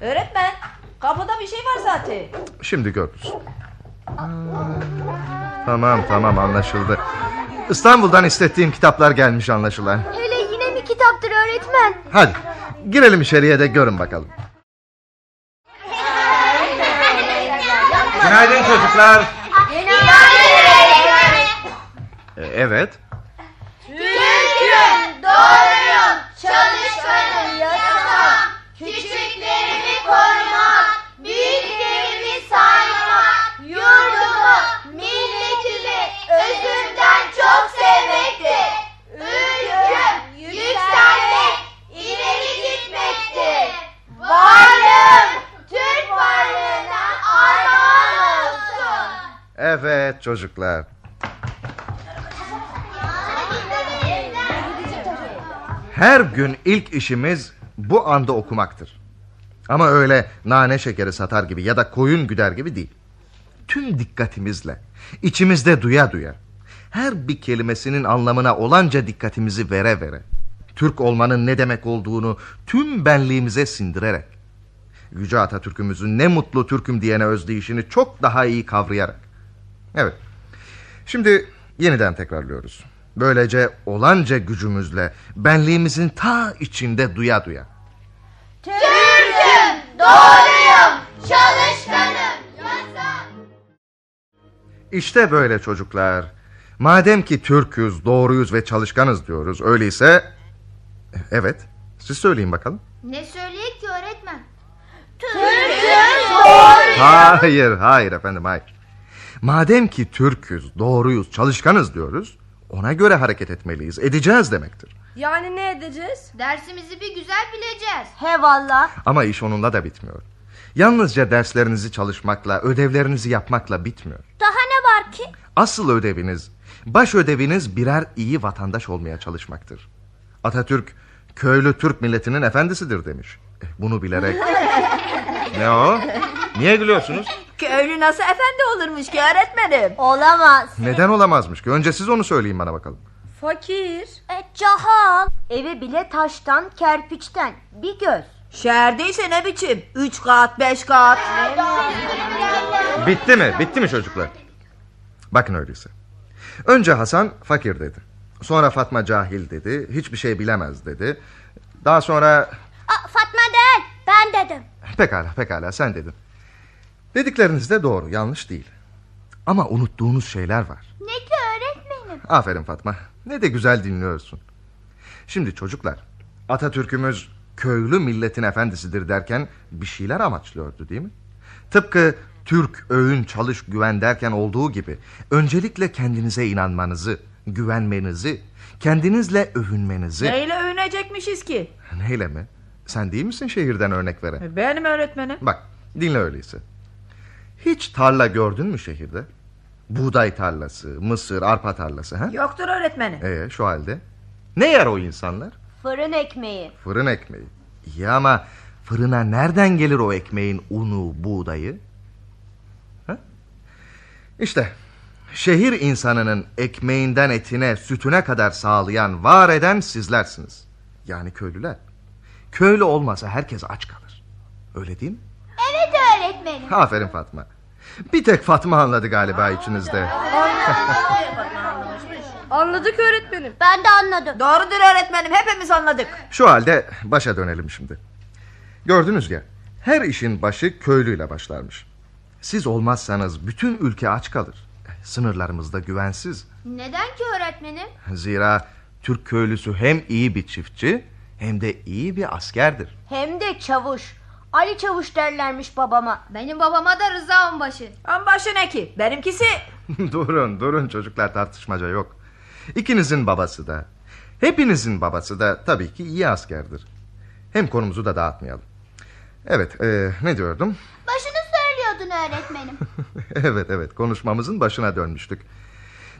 [SPEAKER 4] Öğretmen kapıda bir şey var zaten.
[SPEAKER 5] Şimdi görürüz. Tamam tamam anlaşıldı. İstanbul'dan istettiğim kitaplar gelmiş anlaşılan.
[SPEAKER 15] Hele yine mi kitaptır öğretmen?
[SPEAKER 5] Hadi girelim içeriye de görün bakalım. Günaydın çocuklar. E, Evet.
[SPEAKER 15] Türk'üm, doğruyum, çalışkanım, yasam. Küçüklerimi korumak, büyüklerimi saymak, yurdumu, milletimi özümden çok sevmektir. Ülküm, yükselmek, ileri gitmektir. Varlığım, Türk varlığına armağan olsun.
[SPEAKER 5] Evet çocuklar. Her gün ilk işimiz bu anda okumaktır. Ama öyle nane şekeri satar gibi ya da koyun güder gibi değil. Tüm dikkatimizle, içimizde duya duya, her bir kelimesinin anlamına olanca dikkatimizi vere vere, Türk olmanın ne demek olduğunu tüm benliğimize sindirerek, Yüce Atatürk'ümüzün ne mutlu Türk'üm diyene özdeyişini çok daha iyi kavrayarak. Evet, şimdi yeniden tekrarlıyoruz. Böylece olanca gücümüzle benliğimizin ta içinde duya duya.
[SPEAKER 15] Türk'üm, doğruyum, çalışkanım, yasam.
[SPEAKER 5] İşte böyle çocuklar. Madem ki Türk'üz, doğruyuz ve çalışkanız diyoruz. Öyleyse... Evet, siz söyleyin bakalım.
[SPEAKER 15] Ne söyleyek ki öğretmen?
[SPEAKER 5] Hayır, hayır efendim, hayır. Madem ki Türk'üz, doğruyuz, çalışkanız diyoruz... ...ona göre hareket etmeliyiz, edeceğiz demektir.
[SPEAKER 15] Yani ne edeceğiz? Dersimizi bir güzel bileceğiz.
[SPEAKER 3] He valla.
[SPEAKER 5] Ama iş onunla da bitmiyor. Yalnızca derslerinizi çalışmakla, ödevlerinizi yapmakla bitmiyor.
[SPEAKER 15] Daha ne var ki?
[SPEAKER 5] Asıl ödeviniz, baş ödeviniz birer iyi vatandaş olmaya çalışmaktır. Atatürk, köylü Türk milletinin efendisidir demiş. Eh, Bunu bilerek... ne o? Niye gülüyorsunuz?
[SPEAKER 4] Köylü nasıl efendi olurmuş ki öğretmenim?
[SPEAKER 3] Olamaz.
[SPEAKER 5] Neden olamazmış ki? Önce siz onu söyleyin bana bakalım.
[SPEAKER 3] Fakir. E, cahal. Evi bile taştan, kerpiçten. Bir göz.
[SPEAKER 4] Şehirdeyse ne biçim? Üç kat, beş kat.
[SPEAKER 5] Bitti mi? Bitti mi çocuklar? Bakın öyleyse. Önce Hasan fakir dedi. Sonra Fatma cahil dedi. Hiçbir şey bilemez dedi. Daha sonra
[SPEAKER 15] Aa, Fatma değil ben dedim.
[SPEAKER 5] pekala pekala sen dedin. Dedikleriniz de doğru yanlış değil. Ama unuttuğunuz şeyler var.
[SPEAKER 15] Ne ki öğretmenim?
[SPEAKER 5] Aferin Fatma. Ne de güzel dinliyorsun. Şimdi çocuklar, Atatürk'ümüz köylü milletin efendisidir derken bir şeyler amaçlıyordu değil mi? Tıpkı Türk öğün çalış güven derken olduğu gibi öncelikle kendinize inanmanızı, güvenmenizi, kendinizle övünmenizi...
[SPEAKER 4] Neyle övünecekmişiz ki?
[SPEAKER 5] Neyle mi? Sen değil misin şehirden örnek veren?
[SPEAKER 4] Benim öğretmenim.
[SPEAKER 5] Bak dinle öyleyse. Hiç tarla gördün mü şehirde? Buğday tarlası, mısır, arpa tarlası ha?
[SPEAKER 4] Yoktur öğretmenim.
[SPEAKER 5] Ee, şu halde. Ne yer o insanlar?
[SPEAKER 3] Fırın ekmeği.
[SPEAKER 5] Fırın ekmeği. İyi ama fırına nereden gelir o ekmeğin unu, buğdayı? Ha? İşte şehir insanının ekmeğinden etine, sütüne kadar sağlayan, var eden sizlersiniz. Yani köylüler. Köylü olmasa herkes aç kalır. Öyle değil mi?
[SPEAKER 15] Evet öğretmenim.
[SPEAKER 5] Aferin Fatma. Bir tek Fatma anladı galiba içinizde.
[SPEAKER 16] Anladık öğretmenim.
[SPEAKER 15] Ben de anladım.
[SPEAKER 4] Doğrudur öğretmenim hepimiz anladık.
[SPEAKER 5] Şu halde başa dönelim şimdi. Gördünüz ya, her işin başı köylüyle başlarmış. Siz olmazsanız bütün ülke aç kalır. Sınırlarımızda güvensiz.
[SPEAKER 15] Neden ki öğretmenim?
[SPEAKER 5] Zira Türk köylüsü hem iyi bir çiftçi hem de iyi bir askerdir.
[SPEAKER 3] Hem de çavuş. Ali çavuş derlermiş babama.
[SPEAKER 16] Benim babama da Rıza Onbaşı.
[SPEAKER 4] Onbaşı ne ki? Benimkisi...
[SPEAKER 5] durun durun çocuklar tartışmaca yok. İkinizin babası da, hepinizin babası da tabii ki iyi askerdir. Hem konumuzu da dağıtmayalım. Evet, e, ne diyordum?
[SPEAKER 15] Başını söylüyordun öğretmenim.
[SPEAKER 5] Evet evet konuşmamızın başına dönmüştük.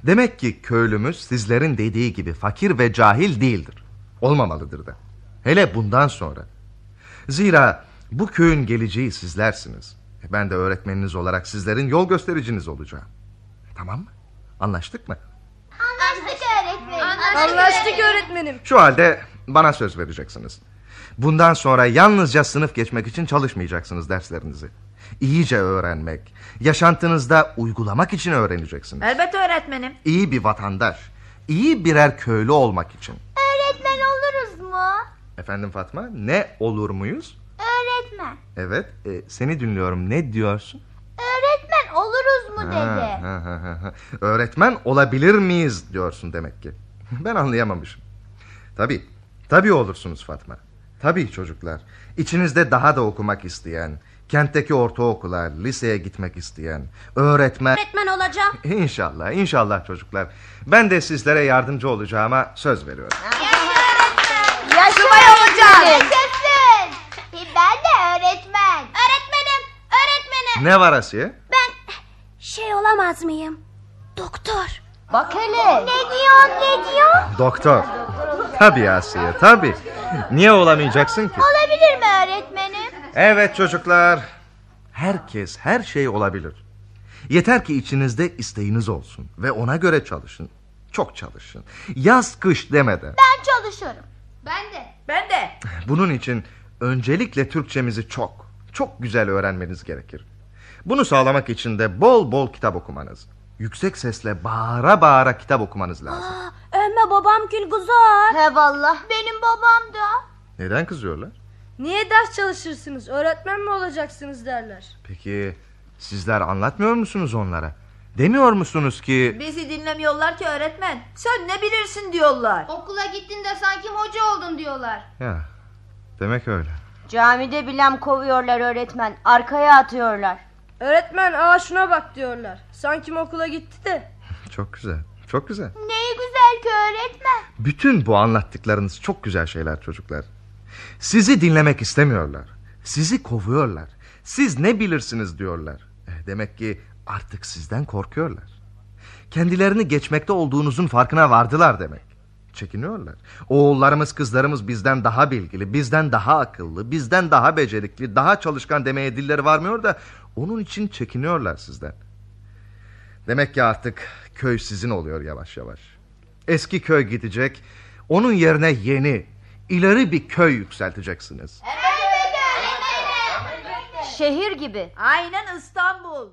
[SPEAKER 5] Demek ki köylümüz sizlerin dediği gibi fakir ve cahil değildir. Olmamalıdır da. Hele bundan sonra. Zira bu köyün geleceği sizlersiniz. E, Ben de öğretmeniniz olarak sizlerin yol göstericiniz olacağım. Tamam mı? Anlaştık mı?
[SPEAKER 15] Anlaştık öğretmenim.
[SPEAKER 16] Anlaştık öğretmenim.
[SPEAKER 5] Şu halde bana söz vereceksiniz. Bundan sonra yalnızca sınıf geçmek için çalışmayacaksınız derslerinizi. İyice öğrenmek, yaşantınızda uygulamak için öğreneceksiniz.
[SPEAKER 4] Elbette öğretmenim.
[SPEAKER 5] iyi bir vatandaş, iyi birer köylü olmak için.
[SPEAKER 15] Öğretmen oluruz mu?
[SPEAKER 5] Efendim Fatma, ne olur muyuz?
[SPEAKER 15] Öğretmen.
[SPEAKER 5] Evet, e, seni dinliyorum. Ne diyorsun?
[SPEAKER 15] Öğretmen oluruz mu
[SPEAKER 5] Ha,
[SPEAKER 15] dedi.
[SPEAKER 5] ha, ha, ha, ha. Öğretmen olabilir miyiz diyorsun demek ki. Ben anlayamamışım. Tabii, tabii olursunuz Fatma. Tabii çocuklar. İçinizde daha da okumak isteyen, kentteki ortaokula, liseye gitmek isteyen, öğretmen...
[SPEAKER 13] Öğretmen olacağım.
[SPEAKER 5] İnşallah, inşallah çocuklar. Ben de sizlere yardımcı olacağıma söz veriyorum.
[SPEAKER 15] Yaşamay olacağım. Yaşasın. E, Ben de öğretmen. Öğretmenim. Öğretmenim.
[SPEAKER 5] Ne var Asiye?
[SPEAKER 15] Şey olamaz mıyım? Doktor. Bak hele. Ne diyor ne diyor?
[SPEAKER 5] Doktor. Tabii Asiye, tabii. Niye olamayacaksın ki?
[SPEAKER 15] Olabilir mi öğretmenim?
[SPEAKER 5] Evet çocuklar. Herkes her şey olabilir. Yeter ki içinizde isteğiniz olsun ve ona göre çalışın. Çok çalışın. Yaz kış demeden.
[SPEAKER 15] Ben çalışıyorum. Ben de.
[SPEAKER 4] Ben de.
[SPEAKER 5] Bunun için öncelikle Türkçemizi çok, çok güzel öğrenmeniz gerekir. Bunu sağlamak için de bol bol kitap okumanız. Yüksek sesle bağıra bağıra kitap okumanız lazım.
[SPEAKER 16] Ömme babam kül kuzar. He valla. Benim babam da.
[SPEAKER 5] Neden kızıyorlar?
[SPEAKER 16] Niye ders çalışırsınız? Öğretmen mi olacaksınız derler.
[SPEAKER 5] Peki sizler anlatmıyor musunuz onlara? Demiyor musunuz ki
[SPEAKER 4] Bizi dinlemiyorlar ki öğretmen. Sen ne bilirsin diyorlar.
[SPEAKER 16] Okula gittiğinde sanki hoca oldun diyorlar.
[SPEAKER 5] Ya demek öyle.
[SPEAKER 3] Camide bilem kovuyorlar öğretmen. Arkaya atıyorlar.
[SPEAKER 16] Öğretmen aa şuna bak diyorlar. Sanki okula gitti de.
[SPEAKER 5] Çok güzel. Çok güzel.
[SPEAKER 15] Neyi güzel ki öğretmen?
[SPEAKER 5] Bütün bu anlattıklarınız çok güzel şeyler çocuklar. Sizi dinlemek istemiyorlar. Sizi kovuyorlar. Siz ne bilirsiniz diyorlar. Eh, Demek ki artık sizden korkuyorlar. Kendilerini geçmekte olduğunuzun farkına vardılar demek. Çekiniyorlar. Oğullarımız kızlarımız bizden daha bilgili, bizden daha akıllı, bizden daha becerikli, daha çalışkan demeye dilleri varmıyor da onun için çekiniyorlar sizden. Demek ki artık köy sizin oluyor yavaş yavaş. Eski köy gidecek, onun yerine yeni, ileri bir köy yükselteceksiniz.
[SPEAKER 15] Evet
[SPEAKER 3] Şehir gibi.
[SPEAKER 4] Aynen İstanbul.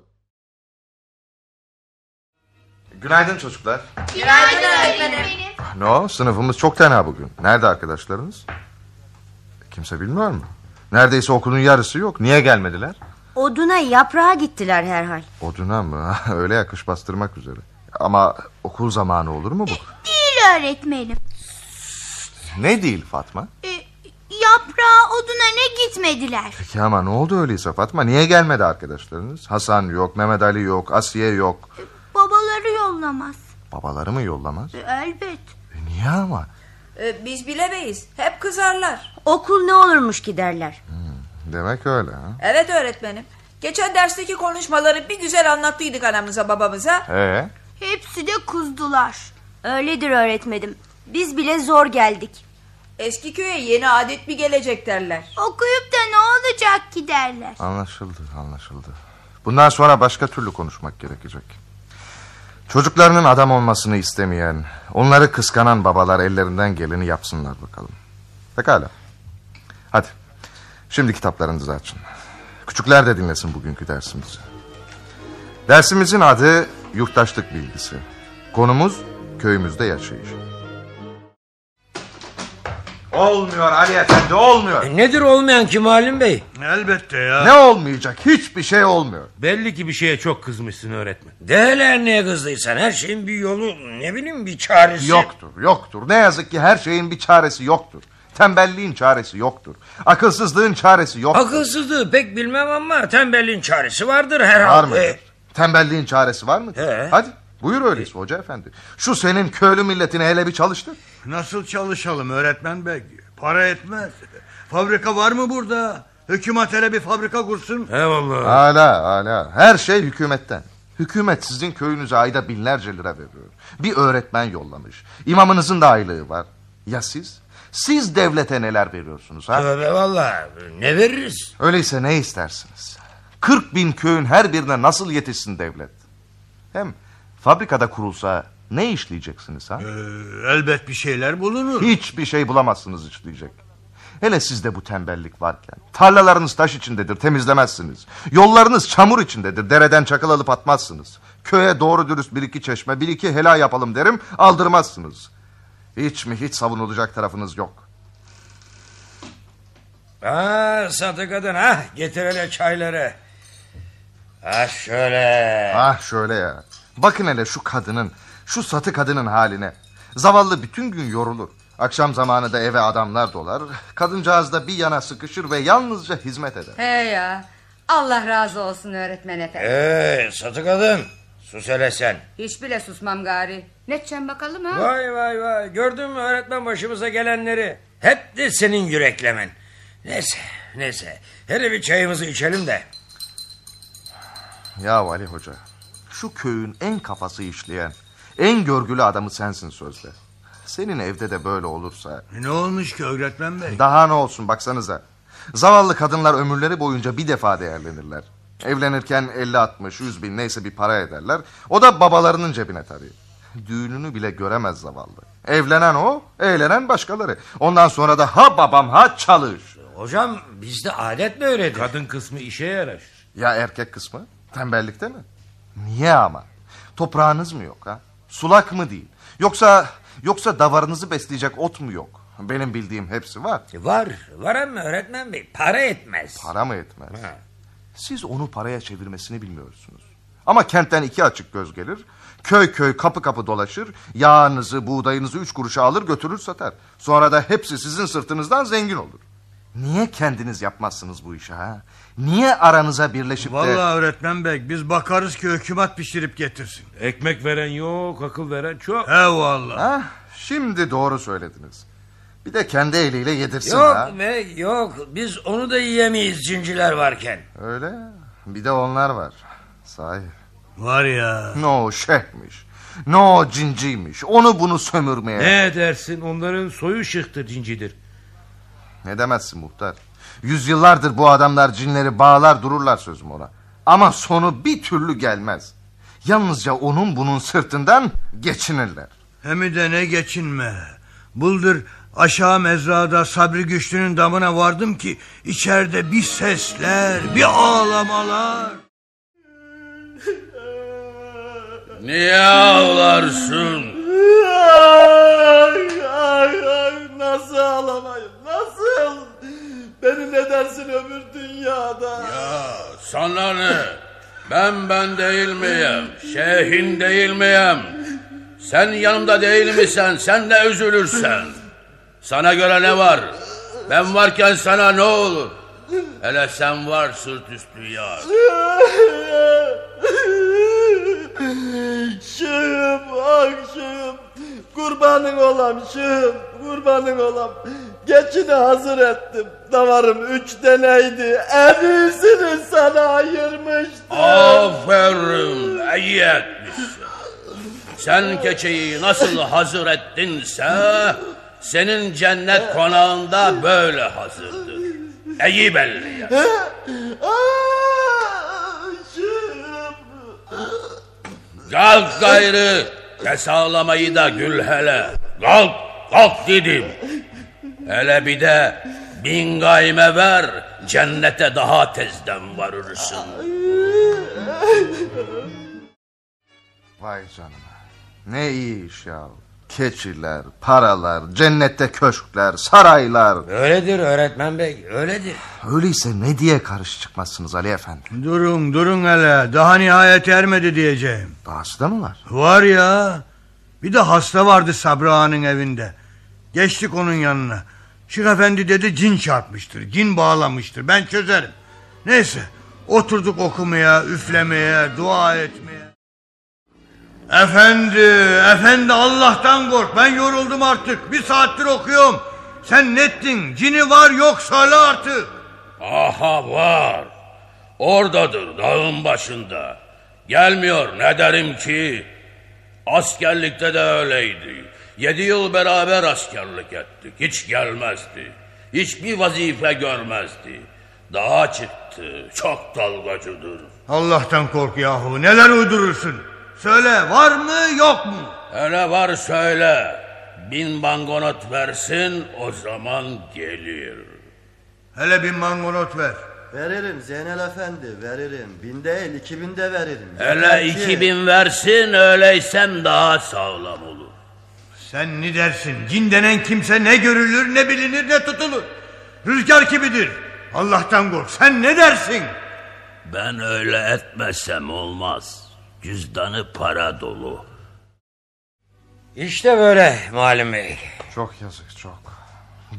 [SPEAKER 5] Günaydın çocuklar.
[SPEAKER 15] Günaydın öğretmenim.
[SPEAKER 5] Ah, No, sınıfımız çok tena bugün. Nerede arkadaşlarınız? Kimse bilmiyor mu? Neredeyse okulun yarısı yok. Niye gelmediler?
[SPEAKER 16] Oduna yaprağa gittiler herhal.
[SPEAKER 5] Oduna mı? Öyle yakış bastırmak üzere. Ama okul zamanı olur mu bu?
[SPEAKER 15] Değil öğretmenim.
[SPEAKER 5] Ne değil Fatma?
[SPEAKER 15] Yaprağa oduna ne gitmediler.
[SPEAKER 5] Peki ama ne oldu öyleyse Fatma? Niye gelmedi arkadaşlarınız? Hasan yok, Mehmet Ali yok, Asiye yok.
[SPEAKER 15] Babaları yollamaz.
[SPEAKER 5] Babaları mı yollamaz?
[SPEAKER 15] Elbet.
[SPEAKER 5] Niye ama?
[SPEAKER 4] E, biz bilemeyiz. Hep kızarlar.
[SPEAKER 16] Okul ne olurmuş ki derler.
[SPEAKER 5] Demek öyle ha?
[SPEAKER 4] Evet öğretmenim. Geçen dersteki konuşmaları bir güzel anlattıydık anamıza babamıza.
[SPEAKER 5] Ee?
[SPEAKER 4] Hepsi de kuzdular.
[SPEAKER 16] Öyledir öğretmenim. Biz bile zor geldik.
[SPEAKER 4] Eski köye yeni adet mi gelecek derler.
[SPEAKER 15] Okuyup da ne olacak ki derler.
[SPEAKER 5] Anlaşıldı, anlaşıldı. Bundan sonra başka türlü konuşmak gerekecek. Çocuklarının adam olmasını istemeyen, onları kıskanan babalar ellerinden geleni yapsınlar bakalım. Pekala. Hadi. Şimdi kitaplarınızı açın. Küçükler de dinlesin bugünkü dersimizi. Dersimizin adı Yurttaşlık Bilgisi. Konumuz köyümüzde yaşayış. Olmuyor Ali Efendi olmuyor.
[SPEAKER 6] nedir olmayan ki Muallim Bey?
[SPEAKER 9] Elbette ya.
[SPEAKER 5] Ne olmayacak? Hiçbir şey olmuyor.
[SPEAKER 7] Belli ki bir şeye çok kızmışsın öğretmen.
[SPEAKER 6] Değerler neye kızdıysan her şeyin bir yolu ne bileyim bir çaresi.
[SPEAKER 5] Yoktur, yoktur. Ne yazık ki her şeyin bir çaresi yoktur. Tembelliğin çaresi yoktur. Akılsızlığın çaresi yoktur.
[SPEAKER 6] Akılsızlığı pek bilmem ama tembelliğin çaresi vardır herhalde.
[SPEAKER 5] Var mıdır? Tembelliğin çaresi var mıdır? Hadi buyur öyleyse hoca efendi. Şu senin köylü milletini hele bir çalıştır.
[SPEAKER 9] Nasıl çalışalım öğretmen bey? Para etmez. Fabrika var mı burada? Hükümet hele bir fabrika kursun.
[SPEAKER 7] Eyvallah.
[SPEAKER 5] Hala hala. Her şey hükümetten. Hükümet sizin köyünüze ayda binlerce lira veriyor. Bir öğretmen yollamış. İmamınızın da aylığı var. Ya siz? Siz devlete neler veriyorsunuz ha?
[SPEAKER 6] Tövbe valla ne veririz?
[SPEAKER 5] Öyleyse ne istersiniz? 40 bin köyün her birine nasıl yetişsin devlet? Hem fabrikada kurulsa ne işleyeceksiniz ha?
[SPEAKER 6] Ee,
[SPEAKER 9] elbet bir şeyler bulunur.
[SPEAKER 5] Hiçbir şey bulamazsınız işleyecek. Hele sizde bu tembellik varken. Tarlalarınız taş içindedir temizlemezsiniz. Yollarınız çamur içindedir dereden çakıl alıp atmazsınız. Köye doğru dürüst bir iki çeşme bir iki helal yapalım derim aldırmazsınız. Hiç mi hiç savunulacak tarafınız yok.
[SPEAKER 6] Aa satı kadın ha getir hele çayları. Ah şöyle.
[SPEAKER 5] Ah şöyle ya. Bakın hele şu kadının, şu satı kadının haline. Zavallı bütün gün yorulur. Akşam zamanı da eve adamlar dolar. Kadıncağız da bir yana sıkışır ve yalnızca hizmet eder.
[SPEAKER 14] He ya. Allah razı olsun öğretmen efendi.
[SPEAKER 6] Ee satı kadın sus hele sen.
[SPEAKER 14] Hiç bile susmam gari. Ne edeceğim bakalım ha?
[SPEAKER 6] Vay vay vay gördün mü öğretmen başımıza gelenleri. Hep de senin yüreklemen. Neyse neyse hele bir çayımızı içelim de.
[SPEAKER 5] Ya Ali Hoca, şu köyün en kafası işleyen, en görgülü adamı sensin sözde. Senin evde de böyle olursa...
[SPEAKER 9] E, Ne olmuş ki öğretmen bey?
[SPEAKER 5] Daha ne olsun baksanıza. Zavallı kadınlar ömürleri boyunca bir defa değerlenirler. Evlenirken 50-60, 100 bin neyse bir para ederler. O da babalarının cebine tabii. Düğününü bile göremez zavallı. Evlenen o, eğlenen başkaları. Ondan sonra da ha babam ha çalış.
[SPEAKER 6] Hocam bizde adet mi öyledir?
[SPEAKER 7] Kadın kısmı işe yarar.
[SPEAKER 5] Ya erkek kısmı? Tembellikte mi? Niye ama? Toprağınız mı yok ha? Sulak mı değil? Yoksa yoksa davarınızı besleyecek ot mu yok? Benim bildiğim hepsi var.
[SPEAKER 6] Var. Var ama öğretmen bey para etmez.
[SPEAKER 5] Para mı etmez? Siz onu paraya çevirmesini bilmiyorsunuz. Ama kentten iki açık göz gelir. Köy köy kapı kapı dolaşır. Yağınızı, buğdayınızı üç kuruşa alır götürür satar. Sonra da hepsi sizin sırtınızdan zengin olur. Niye kendiniz yapmazsınız bu işi ha? Niye aranıza birleşip de...
[SPEAKER 9] Vallahi öğretmen bey biz bakarız ki hükümet pişirip getirsin.
[SPEAKER 7] Ekmek veren yok, akıl veren çok.
[SPEAKER 9] Eyvallah.
[SPEAKER 5] Ah, şimdi doğru söylediniz. Bir de kendi eliyle yedirsin
[SPEAKER 6] Yok
[SPEAKER 5] ha.
[SPEAKER 6] be yok biz onu da yiyemeyiz cinciler varken.
[SPEAKER 5] Öyle ya. Bir de onlar var. Sahi.
[SPEAKER 9] Var ya.
[SPEAKER 5] No şehmiş. No cinciymiş. Onu bunu sömürmeye.
[SPEAKER 7] Ne edersin onların soyu şıktır cincidir.
[SPEAKER 5] Ne demezsin muhtar. Yüzyıllardır bu adamlar cinleri bağlar dururlar sözüm ona. Ama sonu bir türlü gelmez. Yalnızca onun bunun sırtından geçinirler.
[SPEAKER 9] Hem de ne geçinme. Buldur Aşağı mezrada Sabri Güçlü'nün damına vardım ki içeride bir sesler, bir ağlamalar.
[SPEAKER 10] Niye ağlarsın?
[SPEAKER 11] Ay, ay, ay, nasıl ağlamayım? Nasıl? Beni ne dersin öbür dünyada?
[SPEAKER 10] Ya sana ne? Ben ben değil miyim? Şeyhin değil miyim? Sen yanımda değil misin? Sen de üzülürsen. Sana göre ne var? Ben varken sana ne olur? Hele sen var sırt üstü yar.
[SPEAKER 11] Şığım, ah şığım. Kurbanın olam şığım, kurbanın olam. Geçini hazır ettim. Davarım üç deneydi. En iyisini sana ayırmıştım.
[SPEAKER 10] Aferin, iyi etmişsin. Sen keçeyi nasıl hazır ettinse... ...senin cennet konağında böyle hazırdır. İyi belli ya. Kalk gayrı, kes ağlamayı da gül hele. Kalk, kalk dedim. Hele bir de bin gayme ver, cennete daha tezden varırsın.
[SPEAKER 5] Vay canına. Ne iyi iş ya. Keçiler, paralar, cennette köşkler, saraylar.
[SPEAKER 6] Öyledir öğretmen bey, öyledir.
[SPEAKER 5] Öyleyse ne diye karış çıkmazsınız Ali Efendi?
[SPEAKER 9] Durun durun hele daha nihayet ermedi diyeceğim.
[SPEAKER 5] Hasta mı var?
[SPEAKER 9] Var ya bir de hasta vardı Sabri Ağa'nın evinde. Geçtik onun yanına. Şık efendi dedi cin çarpmıştır, cin bağlamıştır ben çözerim. Neyse oturduk okumaya, üflemeye, dua etmeye. Efendi, efendi Allah'tan kork ben yoruldum artık bir saattir okuyorum. Sen nettin cini var yok söyle artık.
[SPEAKER 10] Aha var. Oradadır dağın başında. Gelmiyor ne derim ki? Askerlikte de öyleydi. Yedi yıl beraber askerlik ettik. Hiç gelmezdi. Hiçbir vazife görmezdi. Dağa çıktı. Çok dalgacıdır.
[SPEAKER 9] Allah'tan kork yahu neler uydurursun. Söyle var mı yok mu?
[SPEAKER 10] Öyle var söyle. Bin bangonot versin o zaman gelir.
[SPEAKER 9] Hele bin mangonot ver.
[SPEAKER 17] Veririm Zeynel Efendi veririm. Bin değil iki bin de veririm.
[SPEAKER 10] Hele
[SPEAKER 17] Yeter ki-
[SPEAKER 10] iki bin versin öyleysem daha sağlam olur.
[SPEAKER 9] Sen ne dersin? Cin denen kimse ne görülür, ne bilinir, ne tutulur. Rüzgar gibidir. Allah'tan kork. Sen ne dersin?
[SPEAKER 10] Ben öyle etmesem olmaz. Cüzdanı para dolu.
[SPEAKER 6] İşte böyle Muallim Bey.
[SPEAKER 5] Çok yazık çok.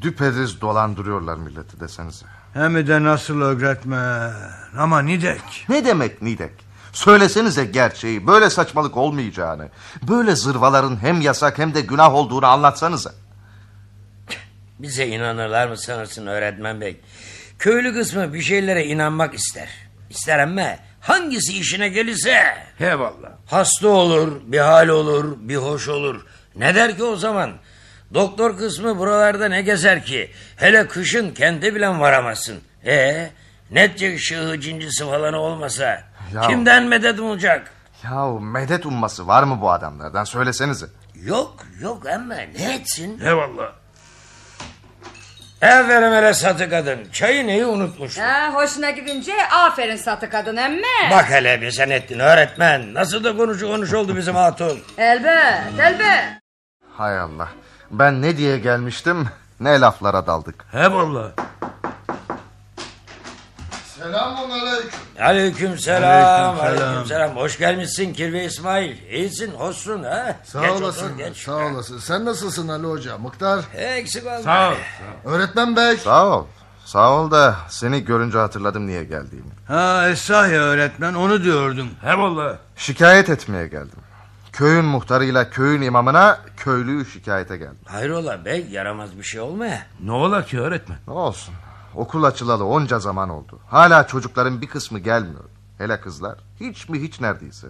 [SPEAKER 5] Düpedüz dolandırıyorlar milleti desenize.
[SPEAKER 9] Hem de nasıl öğretme. Ama Nidek.
[SPEAKER 5] Ne demek Nidek? Söylesenize gerçeği böyle saçmalık olmayacağını Böyle zırvaların hem yasak hem de günah olduğunu anlatsanıza
[SPEAKER 6] Bize inanırlar mı sanırsın öğretmen bey? Köylü kısmı bir şeylere inanmak ister. İster ama hangisi işine gelirse. He valla. Hasta olur, bir hal olur, bir hoş olur. Ne der ki o zaman? Doktor kısmı buralarda ne gezer ki? Hele kışın kendi bilen varamazsın. E netçe şığı cincisi falan olmasa.
[SPEAKER 5] Ya.
[SPEAKER 6] Kimden medet olacak?
[SPEAKER 5] Yahu medet umması var mı bu adamlardan söylesenize
[SPEAKER 6] Yok yok ama ne etsin?
[SPEAKER 5] He
[SPEAKER 6] valla. Aferin hele satı kadın. Çayı neyi unutmuş?
[SPEAKER 14] Ha, hoşuna gidince aferin satı kadın emmi.
[SPEAKER 6] Bak hele bir sen ettin öğretmen. Nasıl da konuşu konuş oldu bizim hatun.
[SPEAKER 14] Elbet elbet.
[SPEAKER 5] Hay Allah ben ne diye gelmiştim ne laflara daldık
[SPEAKER 6] He valla
[SPEAKER 8] Selamun aleyküm.
[SPEAKER 6] Aleyküm selam.
[SPEAKER 8] Aleykümselam.
[SPEAKER 6] Aleyküm selam. Hoş gelmişsin Kirve İsmail. İyisin, hoşsun ha.
[SPEAKER 8] Sağ
[SPEAKER 6] Geç
[SPEAKER 8] olasın.
[SPEAKER 6] otur, geç.
[SPEAKER 8] Sağ olasın. Sen nasılsın Ali Hoca? Mıktar.
[SPEAKER 6] Eksik olma.
[SPEAKER 8] Öğretmen bey.
[SPEAKER 5] Sağ ol Sağ ol da seni görünce hatırladım niye geldiğimi
[SPEAKER 9] Ha esah ya öğretmen onu diyordum. He valla.
[SPEAKER 5] Şikayet etmeye geldim Köyün muhtarıyla köyün imamına köylüyü şikayete geldim
[SPEAKER 6] Hayrola bey yaramaz bir şey olma.
[SPEAKER 5] Ne ola ki öğretmen? Ne olsun. Okul açılalı onca zaman oldu. Hala çocukların bir kısmı gelmiyor. Hele kızlar. Hiç mi hiç neredeyse.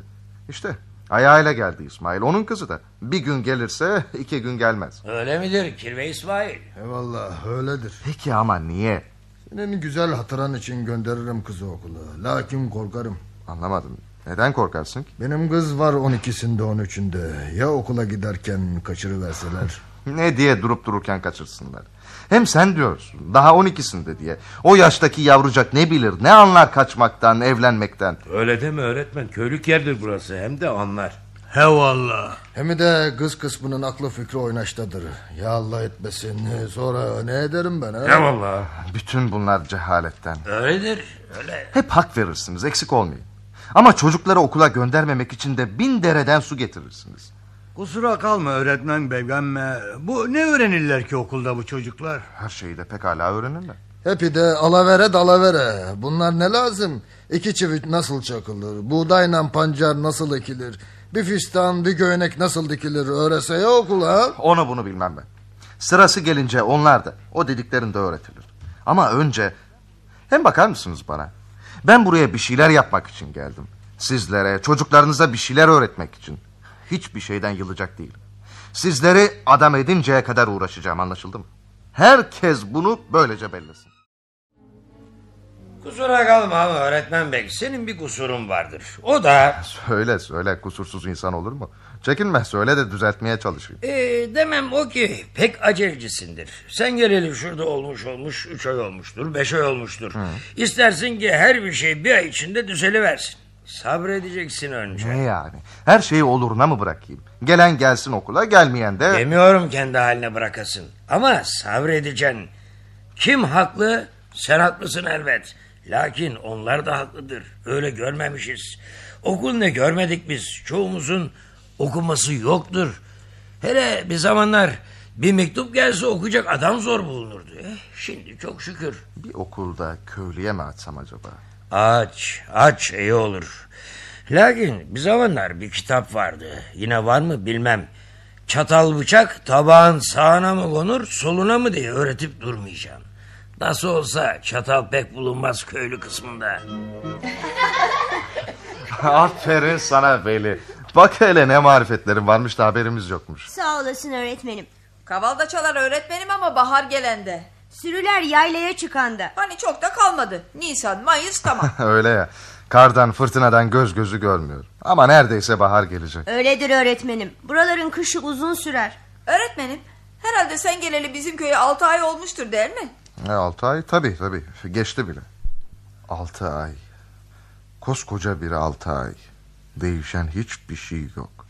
[SPEAKER 5] İşte ayağıyla geldi İsmail. Onun kızı da. Bir gün gelirse iki gün gelmez.
[SPEAKER 6] Öyle midir Kirve İsmail?
[SPEAKER 8] Eyvallah öyledir.
[SPEAKER 5] Peki ama niye?
[SPEAKER 8] Senin güzel hatıran için gönderirim kızı okula. Lakin korkarım.
[SPEAKER 5] Anlamadım. Neden korkarsın ki?
[SPEAKER 8] Benim kız var 12'sinde 13'ünde. Ya okula giderken kaçırıverseler?
[SPEAKER 5] Ne diye durup dururken kaçırsınlar. Hem sen diyorsun daha 12'sinde diye. O yaştaki yavrucak ne bilir ne anlar kaçmaktan evlenmekten.
[SPEAKER 7] Öyle deme öğretmen. Köylük yerdir burası hem de anlar.
[SPEAKER 9] He valla.
[SPEAKER 8] Hem de kız kısmının aklı fikri oynaştadır. Ya Allah etmesin. Sonra ne ederim ben? He?
[SPEAKER 5] vallahi. Bütün bunlar cehaletten.
[SPEAKER 6] Öyledir. Öyle.
[SPEAKER 5] Hep hak verirsiniz eksik olmayın. Ama çocukları okula göndermemek için de bin dereden su getirirsiniz.
[SPEAKER 9] Kusura kalma öğretmen bey ama bu ne öğrenirler ki okulda bu çocuklar?
[SPEAKER 5] Her şeyi de pekala öğrenirler.
[SPEAKER 8] Hepi de alavere dalavere. Bunlar ne lazım? İki çivit nasıl çakılır? Buğdayla pancar nasıl ekilir? Bir fistan bir göğnek nasıl dikilir? Öğrese ya okula.
[SPEAKER 5] Onu bunu bilmem ben. Sırası gelince onlar da o dediklerin de öğretilir. Ama önce hem bakar mısınız bana? Ben buraya bir şeyler yapmak için geldim. Sizlere, çocuklarınıza bir şeyler öğretmek için. Hiçbir şeyden yılacak değilim. Sizleri adam edinceye kadar uğraşacağım anlaşıldı mı? Herkes bunu böylece bellesin.
[SPEAKER 6] Kusura kalma ama öğretmen bey senin bir kusurun vardır. O da
[SPEAKER 5] Söyle söyle kusursuz insan olur mu? Çekinme söyle de düzeltmeye çalışayım.
[SPEAKER 6] e, demem o ki pek acelecisindir. Sen gelelim şurada olmuş olmuş üç ay olmuştur beş ay olmuştur. İstersin ki her bir şey bir ay içinde düzeliversin. Sabredeceksin önce.
[SPEAKER 5] Ne Şey yani? Her şeyi oluruna mı bırakayım? Gelen gelsin okula gelmeyen de...
[SPEAKER 6] Demiyorum kendi haline bırakasın. Ama sabredeceksin. Kim haklı? Sen haklısın elbet. Lakin onlar da haklıdır. Öyle görmemişiz. Okul ne görmedik biz. Çoğumuzun okuması yoktur. Hele bir zamanlar bir mektup gelse okuyacak adam zor bulunurdu. Eh, şimdi çok şükür.
[SPEAKER 5] Bir okulda köylüye mi atsam acaba?
[SPEAKER 6] Aç, aç iyi olur. Lakin bir zamanlar bir kitap vardı. Yine var mı bilmem. Çatal bıçak tabağın sağına mı konur, soluna mı diye öğretip durmayacağım. Nasıl olsa çatal pek bulunmaz köylü kısmında.
[SPEAKER 5] Aferin sana Veli. Bak hele ne marifetlerin varmış da haberimiz yokmuş.
[SPEAKER 16] Sağ olasın öğretmenim.
[SPEAKER 4] Kavalda çalar öğretmenim ama bahar gelende.
[SPEAKER 16] Sürüler yaylaya çıkanda.
[SPEAKER 4] Hani çok da kalmadı. Nisan, Mayıs tamam.
[SPEAKER 5] Öyle ya. Kardan fırtınadan göz gözü görmüyor. Ama neredeyse bahar gelecek.
[SPEAKER 16] Öyledir öğretmenim. Buraların kışı uzun sürer.
[SPEAKER 4] öğretmenim herhalde sen geleli bizim köye altı ay olmuştur değil mi?
[SPEAKER 5] E, altı ay tabii tabii. Geçti bile. Altı ay. Koskoca bir altı ay. Değişen hiçbir şey yok.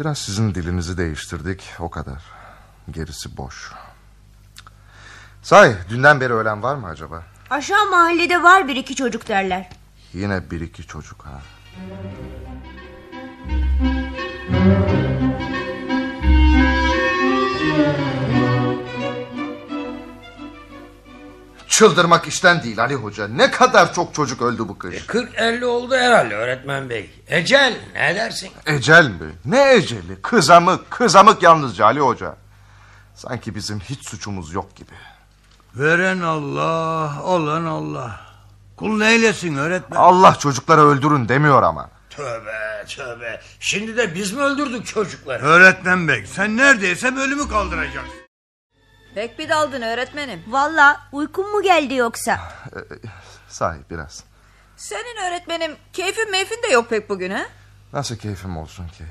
[SPEAKER 5] Biraz sizin dilinizi değiştirdik o kadar. Gerisi boş. Say dünden beri ölen var mı acaba?
[SPEAKER 16] Aşağı mahallede var bir iki çocuk derler.
[SPEAKER 5] Yine bir iki çocuk ha. Çıldırmak işten değil Ali Hoca. Ne kadar çok çocuk öldü bu kış.
[SPEAKER 6] 40-50 oldu herhalde öğretmen bey. Ecel ne dersin?
[SPEAKER 5] Ecel mi? Ne eceli? Kızamık, kızamık yalnızca Ali Hoca. Sanki bizim hiç suçumuz yok gibi.
[SPEAKER 9] Veren Allah, olan Allah. Kul neylesin öğretmen?
[SPEAKER 5] Allah çocukları öldürün demiyor ama.
[SPEAKER 6] Tövbe tövbe. Şimdi de biz mi öldürdük çocukları?
[SPEAKER 9] Öğretmen bey sen neredeyse bölümü kaldıracaksın.
[SPEAKER 4] Pek bir daldın öğretmenim.
[SPEAKER 16] Valla uykun mu geldi yoksa?
[SPEAKER 5] Ee, sahi biraz.
[SPEAKER 4] Senin öğretmenim keyfin meyfin de yok pek bugün ha?
[SPEAKER 5] Nasıl keyfim olsun ki?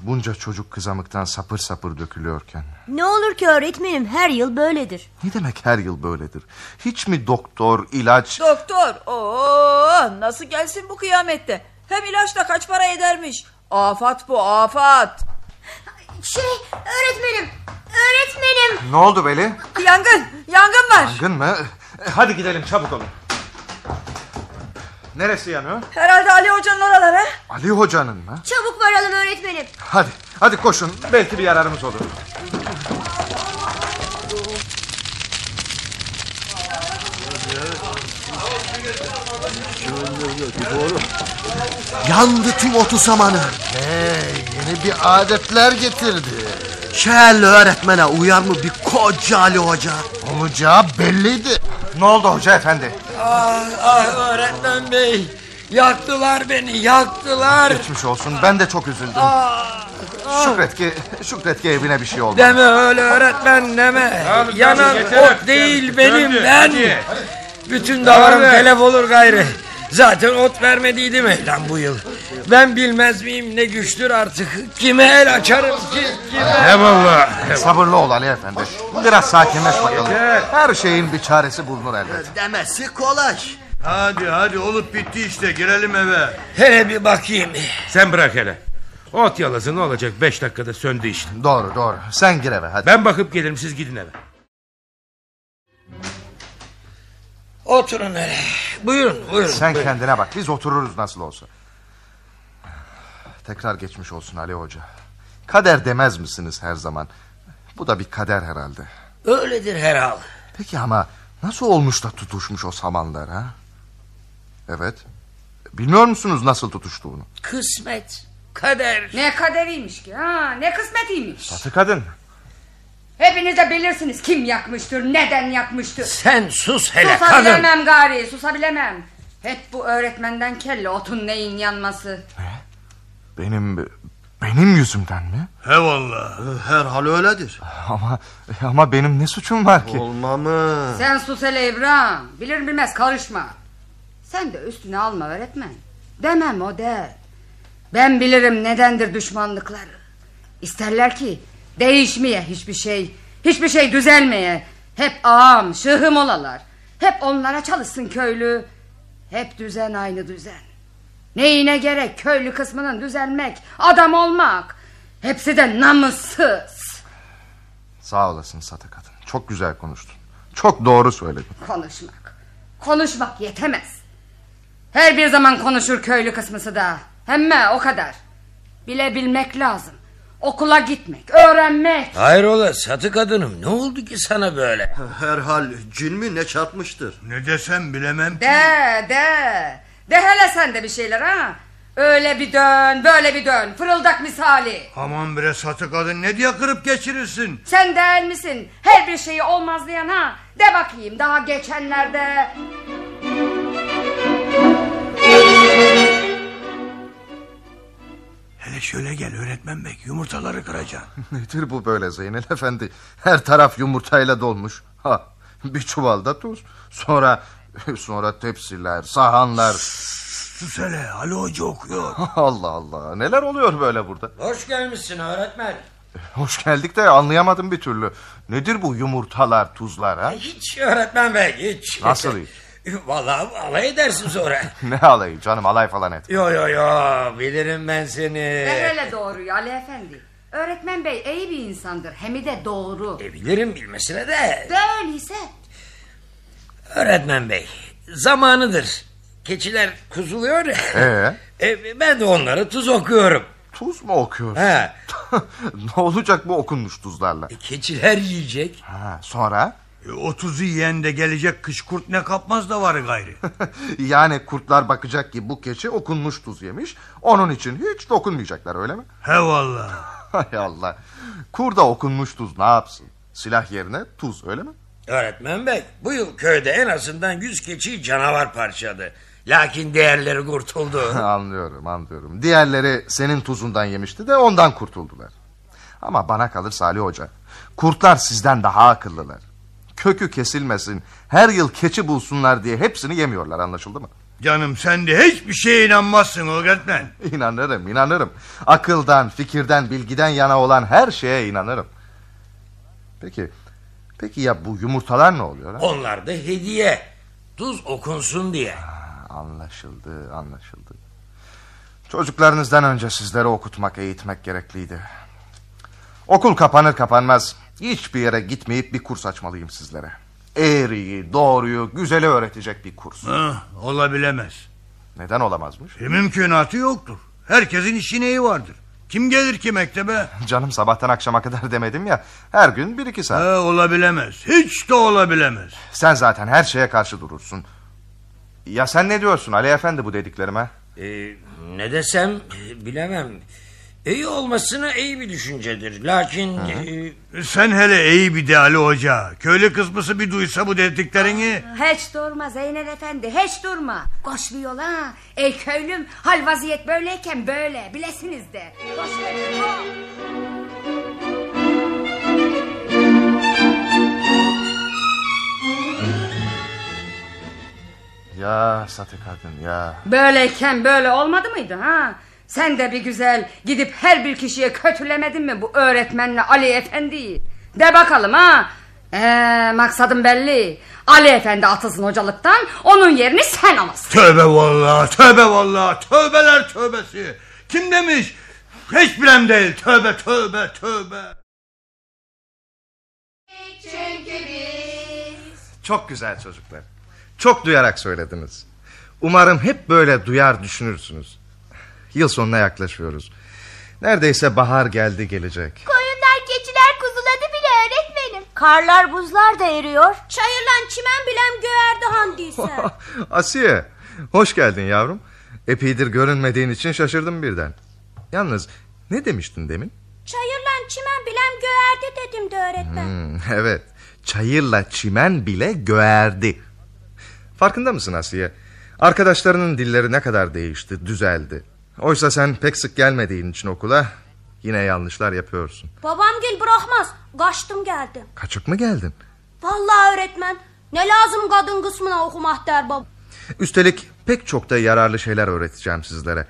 [SPEAKER 5] Bunca çocuk kızamıktan sapır sapır dökülüyorken.
[SPEAKER 16] Ne olur ki öğretmenim her yıl böyledir.
[SPEAKER 5] Ne demek her yıl böyledir? Hiç mi doktor, ilaç...
[SPEAKER 4] Doktor oo nasıl gelsin bu kıyamette? Hem ilaç da kaç para edermiş? Afat bu afat.
[SPEAKER 16] Şey öğretmenim öğretmenim.
[SPEAKER 5] Ne oldu Veli?
[SPEAKER 4] Yangın yangın var.
[SPEAKER 5] Yangın mı? E, Hadi gidelim çabuk olun. Neresi yanıyor?
[SPEAKER 4] Herhalde Ali Hoca'nın oraları. ha?
[SPEAKER 5] Ali Hoca'nın mı?
[SPEAKER 16] Çabuk varalım öğretmenim.
[SPEAKER 5] Hadi, hadi koşun. Belki bir yararımız olur.
[SPEAKER 8] Yandı tüm otu samanı. yeni bir adetler getirdi.
[SPEAKER 18] Şehirli öğretmene uyar mı bir koca Ali Hoca?
[SPEAKER 8] Olacağı belliydi.
[SPEAKER 5] Ne oldu hoca efendi?
[SPEAKER 6] Ah, ah öğretmen bey. Yaktılar beni yaktılar.
[SPEAKER 5] Geçmiş olsun. Ben de çok üzüldüm.
[SPEAKER 6] Ah, ah.
[SPEAKER 5] Şükret ki, şükret ki evine bir şey oldu.
[SPEAKER 6] Deme öyle öğretmen deme.
[SPEAKER 5] Yalnız,
[SPEAKER 6] Yanan
[SPEAKER 5] yalnız yeter
[SPEAKER 6] ot değil
[SPEAKER 5] artık,
[SPEAKER 6] benim
[SPEAKER 5] döndü,
[SPEAKER 6] ben.
[SPEAKER 5] hadi.
[SPEAKER 6] Bütün davarım
[SPEAKER 5] Hadi.
[SPEAKER 6] telef olur gayrı. Zaten ot vermediydim evlen bu yıl. Ben bilmez miyim ne güçtür artık. Kime el açarım ki?
[SPEAKER 5] Eyvallah. Sabırlı ol Ali Efendi. Biraz sakinleş bakalım.
[SPEAKER 9] Yeter.
[SPEAKER 5] Her şeyin bir çaresi bulunur elbet.
[SPEAKER 9] Demesi kolay. Hadi hadi olup bitti işte girelim eve.
[SPEAKER 6] Hele E, bir bakayım.
[SPEAKER 7] Sen bırak hele. Ot yalası ne olacak? Beş dakikada söndü işte.
[SPEAKER 5] Doğru doğru. Sen gir eve hadi.
[SPEAKER 7] Ben bakıp gelirim siz gidin eve.
[SPEAKER 6] Oturun hele. Buyurun buyurun.
[SPEAKER 5] Sen
[SPEAKER 6] buyurun.
[SPEAKER 5] kendine bak. Biz otururuz nasıl olsa. Tekrar geçmiş olsun Ali Hoca. Kader demez misiniz her zaman? Bu da bir kader herhalde.
[SPEAKER 6] Öyledir herhal.
[SPEAKER 5] Peki ama nasıl olmuş da tutuşmuş o samanlar ha? Evet. Bilmiyor musunuz nasıl tutuştuğunu?
[SPEAKER 6] Kısmet. Kader.
[SPEAKER 14] Ne kaderiymiş ki ha ne kısmetiymiş.
[SPEAKER 5] Tatlı kadın.
[SPEAKER 14] Hepiniz de bilirsiniz kim yakmıştır neden yakmıştır.
[SPEAKER 6] Sen sus hele kadın.
[SPEAKER 14] susabilemem gari susabilemem. Hep bu öğretmenden kelle otun neyin yanması.
[SPEAKER 5] Benim benim yüzümden mi?
[SPEAKER 9] He vallahi.
[SPEAKER 18] Herhal öyledir.
[SPEAKER 5] Ama ama benim ne suçum var ki?
[SPEAKER 18] Olmamı.
[SPEAKER 14] Sen sus hele İbrahim bilir bilmez karışma. Sen de üstüne alma öğretmen. Demem o der. Ben bilirim nedendir düşmanlıkları. İsterler ki değişmeye hiçbir şey, hiçbir şey düzelmeye. Hep ağam, şıhım olalar. Hep onlara çalışsın köylü. Hep düzen aynı düzen. Neyine gerek köylü kısmının düzelmek, adam olmak. Hepsi de namussuz.
[SPEAKER 5] Sağ olasın Satı kadın. Çok güzel konuştun. Çok doğru söyledin.
[SPEAKER 14] Konuşmak, konuşmak yetemez. Her bir zaman konuşur köylü kısmısı da. Hemme o kadar. Bilebilmek lazım. Okula gitmek, öğrenmek.
[SPEAKER 6] Hayrola satı kadınım ne oldu ki sana böyle?
[SPEAKER 18] Herhal cin mi ne çarpmıştır?
[SPEAKER 9] Ne desem bilemem
[SPEAKER 14] De de. De hele sen de bir şeyler ha. Öyle bir dön böyle bir dön. Fırıldak misali.
[SPEAKER 9] Aman bre satı kadın ne diye kırıp geçirirsin?
[SPEAKER 14] Sen değil misin? Her bir şeyi olmazlayan ha. De bakayım daha geçenlerde.
[SPEAKER 9] Hele şöyle gel öğretmen bek yumurtaları kıracaksın.
[SPEAKER 5] Nedir bu böyle Zeynel Efendi? Her taraf yumurtayla dolmuş. Ha, bir çuvalda tuz. Sonra sonra tepsiler, sahanlar.
[SPEAKER 9] Sus hele Ali Hoca okuyor.
[SPEAKER 5] Allah Allah. Neler oluyor böyle burada?
[SPEAKER 6] Hoş gelmişsin öğretmen.
[SPEAKER 5] Hoş geldik de anlayamadım bir türlü. Nedir bu yumurtalar, tuzlar
[SPEAKER 9] E,
[SPEAKER 5] ha?
[SPEAKER 6] Hiç öğretmen bey hiç.
[SPEAKER 5] Nasıl hiç?
[SPEAKER 6] Vallahi alay edersin sonra.
[SPEAKER 5] Ne alayı canım alay falan et.
[SPEAKER 6] Yo yo yo bilirim ben seni.
[SPEAKER 14] De hele doğruyu Ali Efendi. Öğretmen bey iyi bir insandır. Hemi de doğru.
[SPEAKER 6] Bilirim bilmesine de.
[SPEAKER 14] De öyleyse.
[SPEAKER 6] Öğretmen bey zamanıdır. Keçiler kuzuluyor ya.
[SPEAKER 5] Ee?
[SPEAKER 6] E, ben de onlara tuz okuyorum.
[SPEAKER 5] Tuz mu okuyorsun?
[SPEAKER 6] He.
[SPEAKER 5] ne olacak bu okunmuş tuzlarla?
[SPEAKER 6] Keçiler yiyecek.
[SPEAKER 5] Ha, sonra?
[SPEAKER 9] E, o tuzu yiyen de gelecek kış kurt ne kapmaz da var gayri.
[SPEAKER 5] Yani kurtlar bakacak ki bu keçi okunmuş tuz yemiş. Onun için hiç dokunmayacaklar öyle mi?
[SPEAKER 9] He vallahi.
[SPEAKER 5] Hay Allah. Kurda okunmuş tuz ne yapsın? Silah yerine tuz öyle mi?
[SPEAKER 6] Öğretmen bey bu yıl köyde en azından yüz keçi canavar parçaladı. Lakin değerleri kurtuldu.
[SPEAKER 5] anlıyorum anlıyorum. Diğerleri senin tuzundan yemişti de ondan kurtuldular. Ama bana kalır Salih Hoca. Kurtlar sizden daha akıllılar. Kökü kesilmesin, her yıl keçi bulsunlar diye hepsini yemiyorlar anlaşıldı mı?
[SPEAKER 9] Canım sen de hiçbir şey şeye inanmazsın öğretmen.
[SPEAKER 5] İnanırım, inanırım. Akıldan, fikirden, bilgiden yana olan her şeye inanırım. Peki, peki ya bu yumurtalar ne oluyor? ha?
[SPEAKER 6] Onlar da hediye. Tuz okunsun diye.
[SPEAKER 5] Anlaşıldı, anlaşıldı. Çocuklarınızdan önce sizleri okutmak, eğitmek gerekliydi. Okul kapanır kapanmaz hiçbir yere gitmeyip bir kurs açmalıyım sizlere. Eğriyi, doğruyu, güzeli öğretecek bir kurs.
[SPEAKER 9] Hı, olabilemez.
[SPEAKER 5] Neden olamazmış?
[SPEAKER 9] E, mümkünatı yoktur. Herkesin işi neyi vardır. Kim gelir ki mektebe?
[SPEAKER 5] Canım sabahtan akşama kadar demedim ya. Her gün bir iki saat.
[SPEAKER 9] He, olabilemez. Hiç de olabilemez.
[SPEAKER 5] Sen zaten her şeye karşı durursun. Ya sen ne diyorsun Ali Efendi bu dediklerime?
[SPEAKER 6] Ee, ne desem bilemem. İyi olmasına iyi bir düşüncedir. Lakin e,
[SPEAKER 9] Sen hele iyi bir de Ali Hoca. Köylü kısmısı bir duysa bu dediklerini...
[SPEAKER 14] Hiç durma Zeynel Efendi hiç durma. Koş bir yola. Ey köylüm hal vaziyet böyleyken böyle bilesiniz de. Koş be, koş.
[SPEAKER 19] Ya satı kadın ya.
[SPEAKER 14] Böyleyken böyle olmadı mıydı ha? Sen de bir güzel gidip her bir kişiye kötülemedin mi bu öğretmenle Ali Efendi'yi? De bakalım ha. Ee, maksadım belli. Ali Efendi atılsın hocalıktan onun yerini sen alasın.
[SPEAKER 9] Tövbe vallahi tövbe vallahi tövbeler tövbesi. Kim demiş? Hiç bilem değil tövbe tövbe tövbe.
[SPEAKER 16] Çünkü biz...
[SPEAKER 5] Çok güzel çocuklar. Çok duyarak söylediniz. Umarım hep böyle duyar düşünürsünüz. Yıl sonuna yaklaşıyoruz. Neredeyse bahar geldi gelecek.
[SPEAKER 3] Koyunlar keçiler kuzuladı bile öğretmenim. Karlar buzlar da eriyor. Çayırlan çimen bilem göğerdi handiyse.
[SPEAKER 5] Asiye, hoş geldin yavrum. Epeydir görünmediğin için şaşırdım birden. Yalnız ne demiştin demin?
[SPEAKER 3] Çayırlan çimen bilem göğerdi dedim de öğretmen.
[SPEAKER 5] Hmm, evet, çayırla çimen bile göğerdi. Farkında mısın Asiye? Arkadaşlarının dilleri ne kadar değişti, düzeldi. Oysa sen pek sık gelmediğin için okula yine yanlışlar yapıyorsun.
[SPEAKER 3] Babam gel bırakmaz. Kaçtım geldim.
[SPEAKER 5] Kaçık mı geldin?
[SPEAKER 3] Vallahi öğretmen. Ne lazım kadın kısmına okumak der bab.
[SPEAKER 5] Üstelik pek çok da yararlı şeyler öğreteceğim sizlere.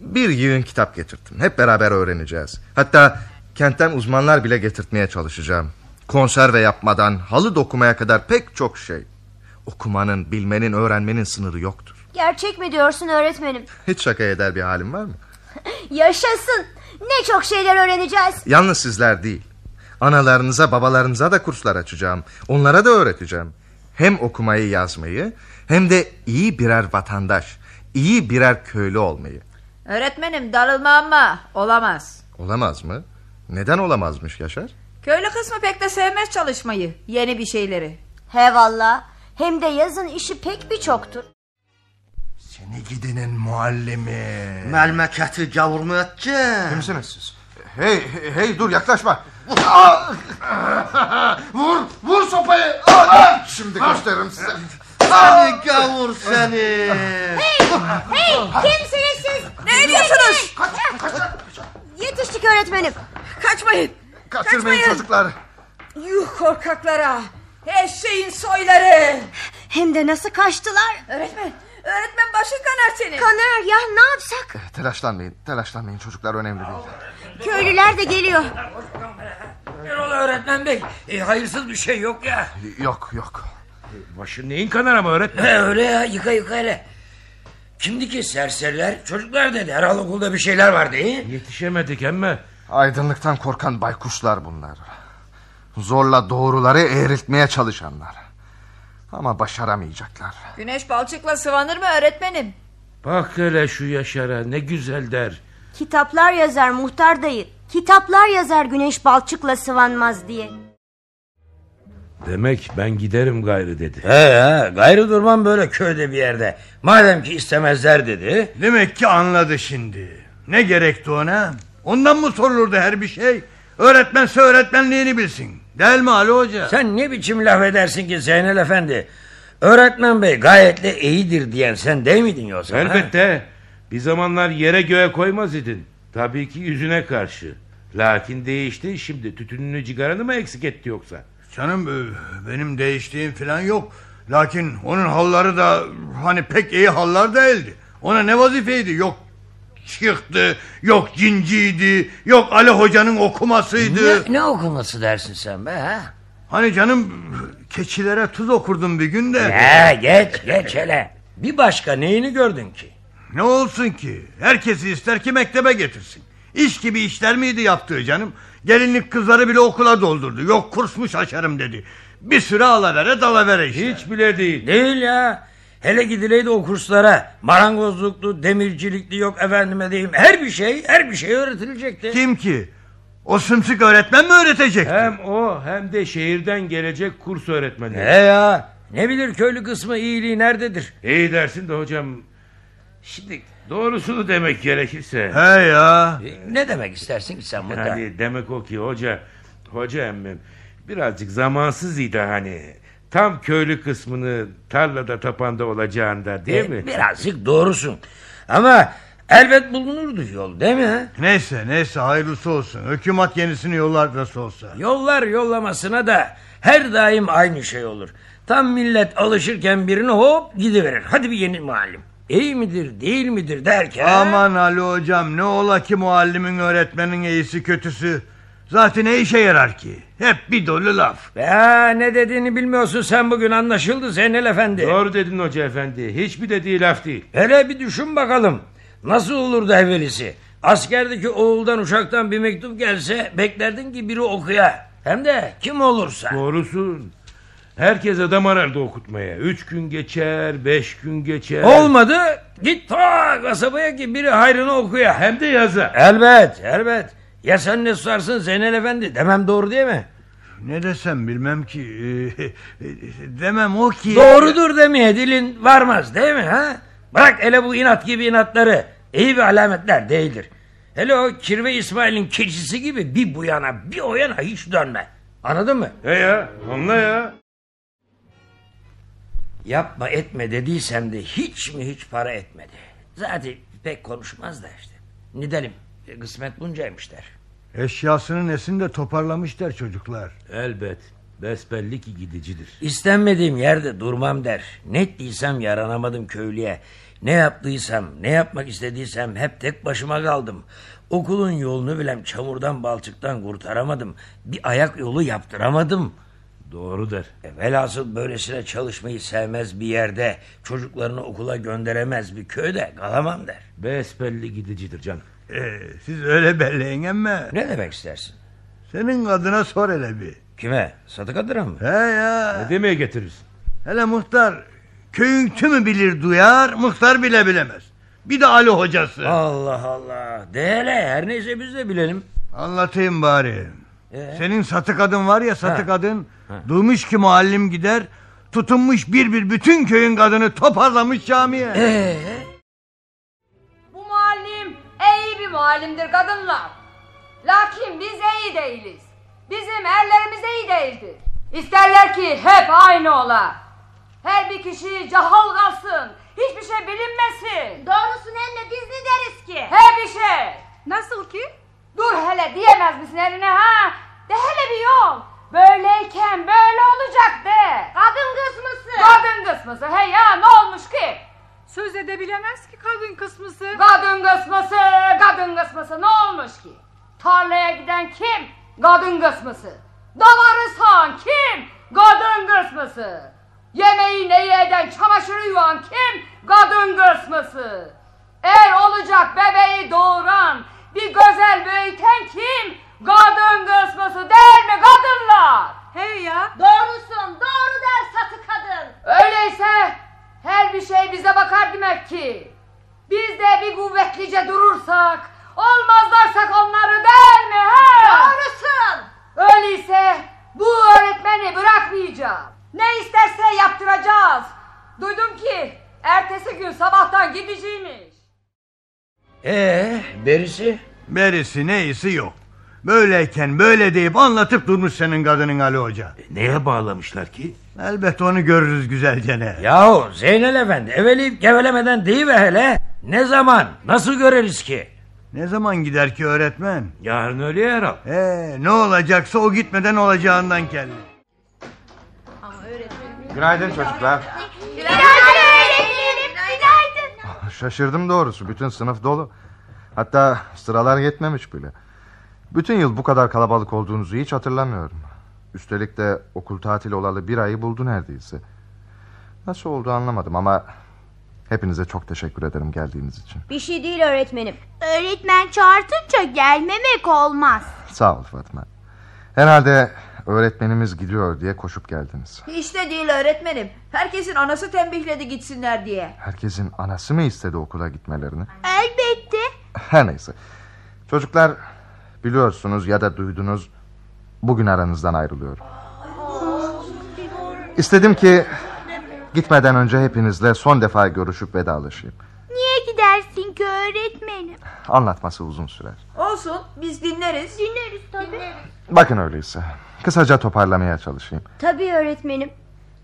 [SPEAKER 5] Bir yığın kitap getirttim. Hep beraber öğreneceğiz. Hatta kentten uzmanlar bile getirtmeye çalışacağım. Konserve yapmadan halı dokumaya kadar pek çok şey. Okumanın, bilmenin, öğrenmenin sınırı yoktur.
[SPEAKER 3] Gerçek mi diyorsun öğretmenim?
[SPEAKER 5] Hiç şaka eder bir halim var mı?
[SPEAKER 3] Yaşasın. Ne çok şeyler öğreneceğiz.
[SPEAKER 5] Yalnız sizler değil. Analarınıza, babalarınıza da kurslar açacağım. Onlara da öğreteceğim. Hem okumayı, yazmayı hem de iyi birer vatandaş, iyi birer köylü olmayı.
[SPEAKER 4] Öğretmenim darılma ama olamaz.
[SPEAKER 5] Olamaz mı? Neden olamazmış Yaşar?
[SPEAKER 4] Köylü kısmı pek de sevmez çalışmayı, yeni bir şeyleri.
[SPEAKER 3] He valla. Hem de yazın işi pek birçoktur.
[SPEAKER 9] Seni gidinin muallimi.
[SPEAKER 8] Melmeketi gavurmu edeceksin?
[SPEAKER 9] Kimsiniz
[SPEAKER 8] siz?
[SPEAKER 19] Hey, hey, hey, dur yaklaşma.
[SPEAKER 8] vur, vur sopayı.
[SPEAKER 19] Şimdi gösteririm size.
[SPEAKER 8] Seni gavur seni.
[SPEAKER 3] Hey! Hey! Kimsiniz siz?
[SPEAKER 4] Ne ediyorsunuz?
[SPEAKER 3] Kaç, Yetiştik öğretmenim.
[SPEAKER 4] Kaçmayın.
[SPEAKER 19] Kaçırmayın çocuklar.
[SPEAKER 4] Yuh korkaklara. Eşeğin soyları.
[SPEAKER 3] Hem de nasıl kaçtılar?
[SPEAKER 4] Öğretmen, öğretmen başın kanar senin.
[SPEAKER 3] Kanar ya ne yapsak?
[SPEAKER 19] Telaşlanmayın, telaşlanmayın çocuklar önemli değil.
[SPEAKER 3] Köylüler de geliyor.
[SPEAKER 6] Erol öğretmen bey. E, hayırsız bir şey yok ya.
[SPEAKER 19] Yok yok.
[SPEAKER 10] Başın E, neyin kanar ama öğretmen?
[SPEAKER 6] He, öyle ya yıka yıka hele. Şimdiki serseriler çocuklar dedi. Herhalde okulda bir şeyler var değil.
[SPEAKER 10] Yetişemedik emme.
[SPEAKER 19] Aydınlıktan korkan baykuşlar bunlar. Zorla doğruları eğriltmeye çalışanlar. Ama başaramayacaklar.
[SPEAKER 4] Güneş balçıkla sıvanır mı öğretmenim?
[SPEAKER 10] Bak hele şu Yaşar'a ne güzel der.
[SPEAKER 3] Kitaplar yazar muhtar dayı. Kitaplar yazar güneş balçıkla sıvanmaz diye.
[SPEAKER 10] Demek ben giderim gayrı dedi.
[SPEAKER 6] He he gayrı durmam böyle köyde bir yerde. Madem ki istemezler dedi.
[SPEAKER 9] Demek ki anladı şimdi. Ne gerekti ona? Ondan mı sorulurdu her bir şey? Öğretmense öğretmenliğini bilsin. Değil mi Ali Hoca?
[SPEAKER 6] Sen ne biçim laf edersin ki Zeynel Efendi? Öğretmen bey gayet de iyidir diyen sen değil miydin yoksa? ha?
[SPEAKER 10] Elbette. Bir zamanlar yere göğe koymaz idin. Tabii ki yüzüne karşı. Lakin değişti şimdi. Tütününü cigaranı mı eksik etti yoksa?
[SPEAKER 9] Canım e, benim değiştiğim falan yok. Lakin onun halları da hani pek iyi hallar değildi. Ona ne vazifeydi? Yok çıktı, yok cinciydi, yok Ali Hoca'nın okumasıydı.
[SPEAKER 6] Ne, ne okuması dersin sen be ha?
[SPEAKER 9] Hani canım keçilere tuz okurdum bir gün de.
[SPEAKER 6] Ya geç geç hele. Bir başka neyini gördün ki?
[SPEAKER 9] Ne olsun ki? Herkesi ister ki mektebe getirsin. İş gibi işler miydi yaptığı canım? Gelinlik kızları bile okula doldurdu. Yok kursmuş açarım dedi. Bir süre alavere dalavere işte.
[SPEAKER 10] Hiç bile değil.
[SPEAKER 6] Değil ya. Hele gidileydi o kurslara. Marangozluklu, demircilikli yok efendime diyeyim. Her bir şey, her bir şey öğretilecekti.
[SPEAKER 9] Kim ki? O sımsık öğretmen mi öğretecekti?
[SPEAKER 10] Hem o hem de şehirden gelecek kurs öğretmeni.
[SPEAKER 6] He ya. Ne bilir köylü kısmı iyiliği nerededir?
[SPEAKER 10] İyi dersin de hocam. Şimdi doğrusunu demek gerekirse.
[SPEAKER 9] He ya.
[SPEAKER 6] E, Ne demek istersin ki sen burada?
[SPEAKER 10] Yani demek o ki hoca, hoca emmim birazcık zamansız idi hani. Tam köylü kısmını tarlada tapanda olacağında değil
[SPEAKER 6] E,
[SPEAKER 10] mi?
[SPEAKER 6] Birazcık doğrusun. Ama elbet bulunurdu yol değil mi? ha?
[SPEAKER 9] Neyse neyse hayırlısı olsun. Hükümet yenisini yollar nasıl olsa.
[SPEAKER 6] Yollar yollamasına da her daim aynı şey olur. Tam millet alışırken birini hop gidiverir. Hadi bir yeni muallim. İyi midir değil midir derken.
[SPEAKER 9] Aman Ali hocam ne ola ki muallimin öğretmenin iyisi kötüsü. Zaten ne işe yarar ki? Hep bir dolu laf.
[SPEAKER 6] Ya ne dediğini bilmiyorsun sen bugün anlaşıldı Zeynel Efendi.
[SPEAKER 10] Doğru dedin hoca efendi. Hiçbir dediği laf değil.
[SPEAKER 6] Hele bir düşün bakalım. Nasıl olurdu evvelisi? Askerdeki oğuldan uçaktan bir mektup gelse beklerdin ki biri okuya. Hem de kim olursa.
[SPEAKER 10] Doğrusun. Herkes adam arardı okutmaya. Üç gün geçer, beş gün geçer.
[SPEAKER 6] Olmadı git ta kasabaya ki biri hayrını okuya.
[SPEAKER 10] Hem de yazar.
[SPEAKER 6] Elbet elbet. Ya sen ne susarsın Zeynel Efendi demem doğru değil mi?
[SPEAKER 9] Ne desem bilmem ki. e, demem o ki.
[SPEAKER 6] Doğrudur demeye dilin varmaz değil mi? Ha? Bırak hele bu inat gibi inatları. İyi bir alametler değildir. Hele o Kirve İsmail'in keçisi gibi bir bu yana bir o yana hiç dönme. Anladın mı?
[SPEAKER 10] He E ya anla ya.
[SPEAKER 6] Yapma etme dediysem de hiç mi hiç para etmedi. Zaten pek konuşmaz da işte. Nidelim kısmet buncaymış der.
[SPEAKER 9] Eşyasının esini de toparlamış der çocuklar.
[SPEAKER 10] Elbet. Besbelli ki gidicidir.
[SPEAKER 6] İstenmediğim yerde durmam der. Ne diysem yaranamadım köylüye. Ne yaptıysam, ne yapmak istediysem hep tek başıma kaldım. Okulun yolunu bilem çamurdan balçıktan kurtaramadım. Bir ayak yolu yaptıramadım.
[SPEAKER 10] Doğru der.
[SPEAKER 6] E, velhasıl böylesine çalışmayı sevmez bir yerde, çocuklarını okula gönderemez bir köyde kalamam der.
[SPEAKER 10] Besbelli gidicidir canım.
[SPEAKER 9] Ee, siz öyle belleyin emme.
[SPEAKER 6] Ne demek istersin?
[SPEAKER 9] Senin kadına sor hele bir.
[SPEAKER 6] Kime? Sadık Adır'a mı?
[SPEAKER 9] He ya.
[SPEAKER 10] Ne demeye getirirsin?
[SPEAKER 9] Hele muhtar köyün tümü bilir duyar, muhtar bile bilemez. Bir de Ali hocası.
[SPEAKER 6] Allah Allah. De hele her neyse biz de bilelim. E?
[SPEAKER 9] Anlatayım bari. Ee? Senin satı kadın var ya satı kadın. Duymuş ki muallim gider. Tutunmuş bir bir bütün köyün kadını toparlamış camiye.
[SPEAKER 6] Ee?
[SPEAKER 16] Bu muallim iyi bir muallimdir kadınlar. Lakin biz iyi değiliz. Bizim erlerimiz iyi değildir. İsterler ki hep aynı ola. Her bir kişi cahal kalsın. Hiçbir şey bilinmesin.
[SPEAKER 3] Doğrusun emme biz ne deriz ki?
[SPEAKER 16] Her bir şey.
[SPEAKER 14] Nasıl ki?
[SPEAKER 16] Dur hele diyemez misin eline ha? De hele bir yol. Böyleyken böyle olacak de.
[SPEAKER 3] Kadın kısmısı.
[SPEAKER 16] Kadın kısmısı hey ya ne olmuş ki?
[SPEAKER 14] Söz edebilemez ki kadın kısmısı.
[SPEAKER 16] Kadın kısmısı, kadın kısmısı ne olmuş ki? Tarlaya giden kim? Kadın kısmısı. Davarı sağan kim? Kadın kısmısı. Yemeği neyi eden, çamaşırı yuvan kim? Kadın kısmısı. Er olacak bebeği doğuran, bir güzel büyüten kim? Kadın kısmısı değil mi kadınlar?
[SPEAKER 14] Hey ya.
[SPEAKER 3] Doğrusun, doğru der satı kadın.
[SPEAKER 16] Öyleyse her bir şey bize bakar demek ki. Biz de bir kuvvetlice durursak, olmazlarsak onları değil mi? He?
[SPEAKER 3] Doğrusun.
[SPEAKER 16] Öyleyse bu öğretmeni bırakmayacağız. Ne isterse yaptıracağız. Duydum ki ertesi gün sabahtan gideceğimiş.
[SPEAKER 6] Ee, berisi?
[SPEAKER 9] Berisi neyisi yok. Böyleyken böyle deyip anlatıp durmuş senin kadının Ali Hoca.
[SPEAKER 10] E, neye bağlamışlar ki?
[SPEAKER 9] Elbet onu görürüz güzelce ne.
[SPEAKER 6] Yahu Zeynel Efendi eveleyip gevelemeden değil ve hele. Ne zaman, nasıl görürüz ki?
[SPEAKER 9] Ne zaman gider ki öğretmen?
[SPEAKER 10] Yarın öyle herhal.
[SPEAKER 9] Ee, ne olacaksa o gitmeden olacağından kelli.
[SPEAKER 5] Günaydın çocuklar.
[SPEAKER 15] Günaydın öğretmenim. Günaydın.
[SPEAKER 5] Şaşırdım doğrusu. Bütün sınıf dolu. Hatta sıralar yetmemiş bile. Bütün yıl bu kadar kalabalık olduğunuzu hiç hatırlamıyorum. Üstelik de okul tatili olalı bir ayı buldu neredeyse. Nasıl oldu anlamadım ama hepinize çok teşekkür ederim geldiğiniz için.
[SPEAKER 4] Bir şey değil öğretmenim.
[SPEAKER 15] Öğretmen çağırtınca gelmemek olmaz.
[SPEAKER 5] Sağ ol Fatma. Herhalde öğretmenimiz gidiyor diye koşup geldiniz.
[SPEAKER 4] Hiç de değil öğretmenim. Herkesin anası tembihledi gitsinler diye.
[SPEAKER 5] Herkesin anası mı istedi okula gitmelerini?
[SPEAKER 15] Elbette.
[SPEAKER 5] Her neyse. Çocuklar biliyorsunuz ya da duydunuz bugün aranızdan ayrılıyorum. İstedim ki gitmeden önce hepinizle son defa görüşüp vedalaşayım.
[SPEAKER 15] Niye gidersin ki öğretmenim?
[SPEAKER 5] Anlatması uzun sürer.
[SPEAKER 4] Olsun biz dinleriz.
[SPEAKER 15] Dinleriz tabii.
[SPEAKER 5] Bakın öyleyse. Kısaca toparlamaya çalışayım.
[SPEAKER 4] Tabii öğretmenim.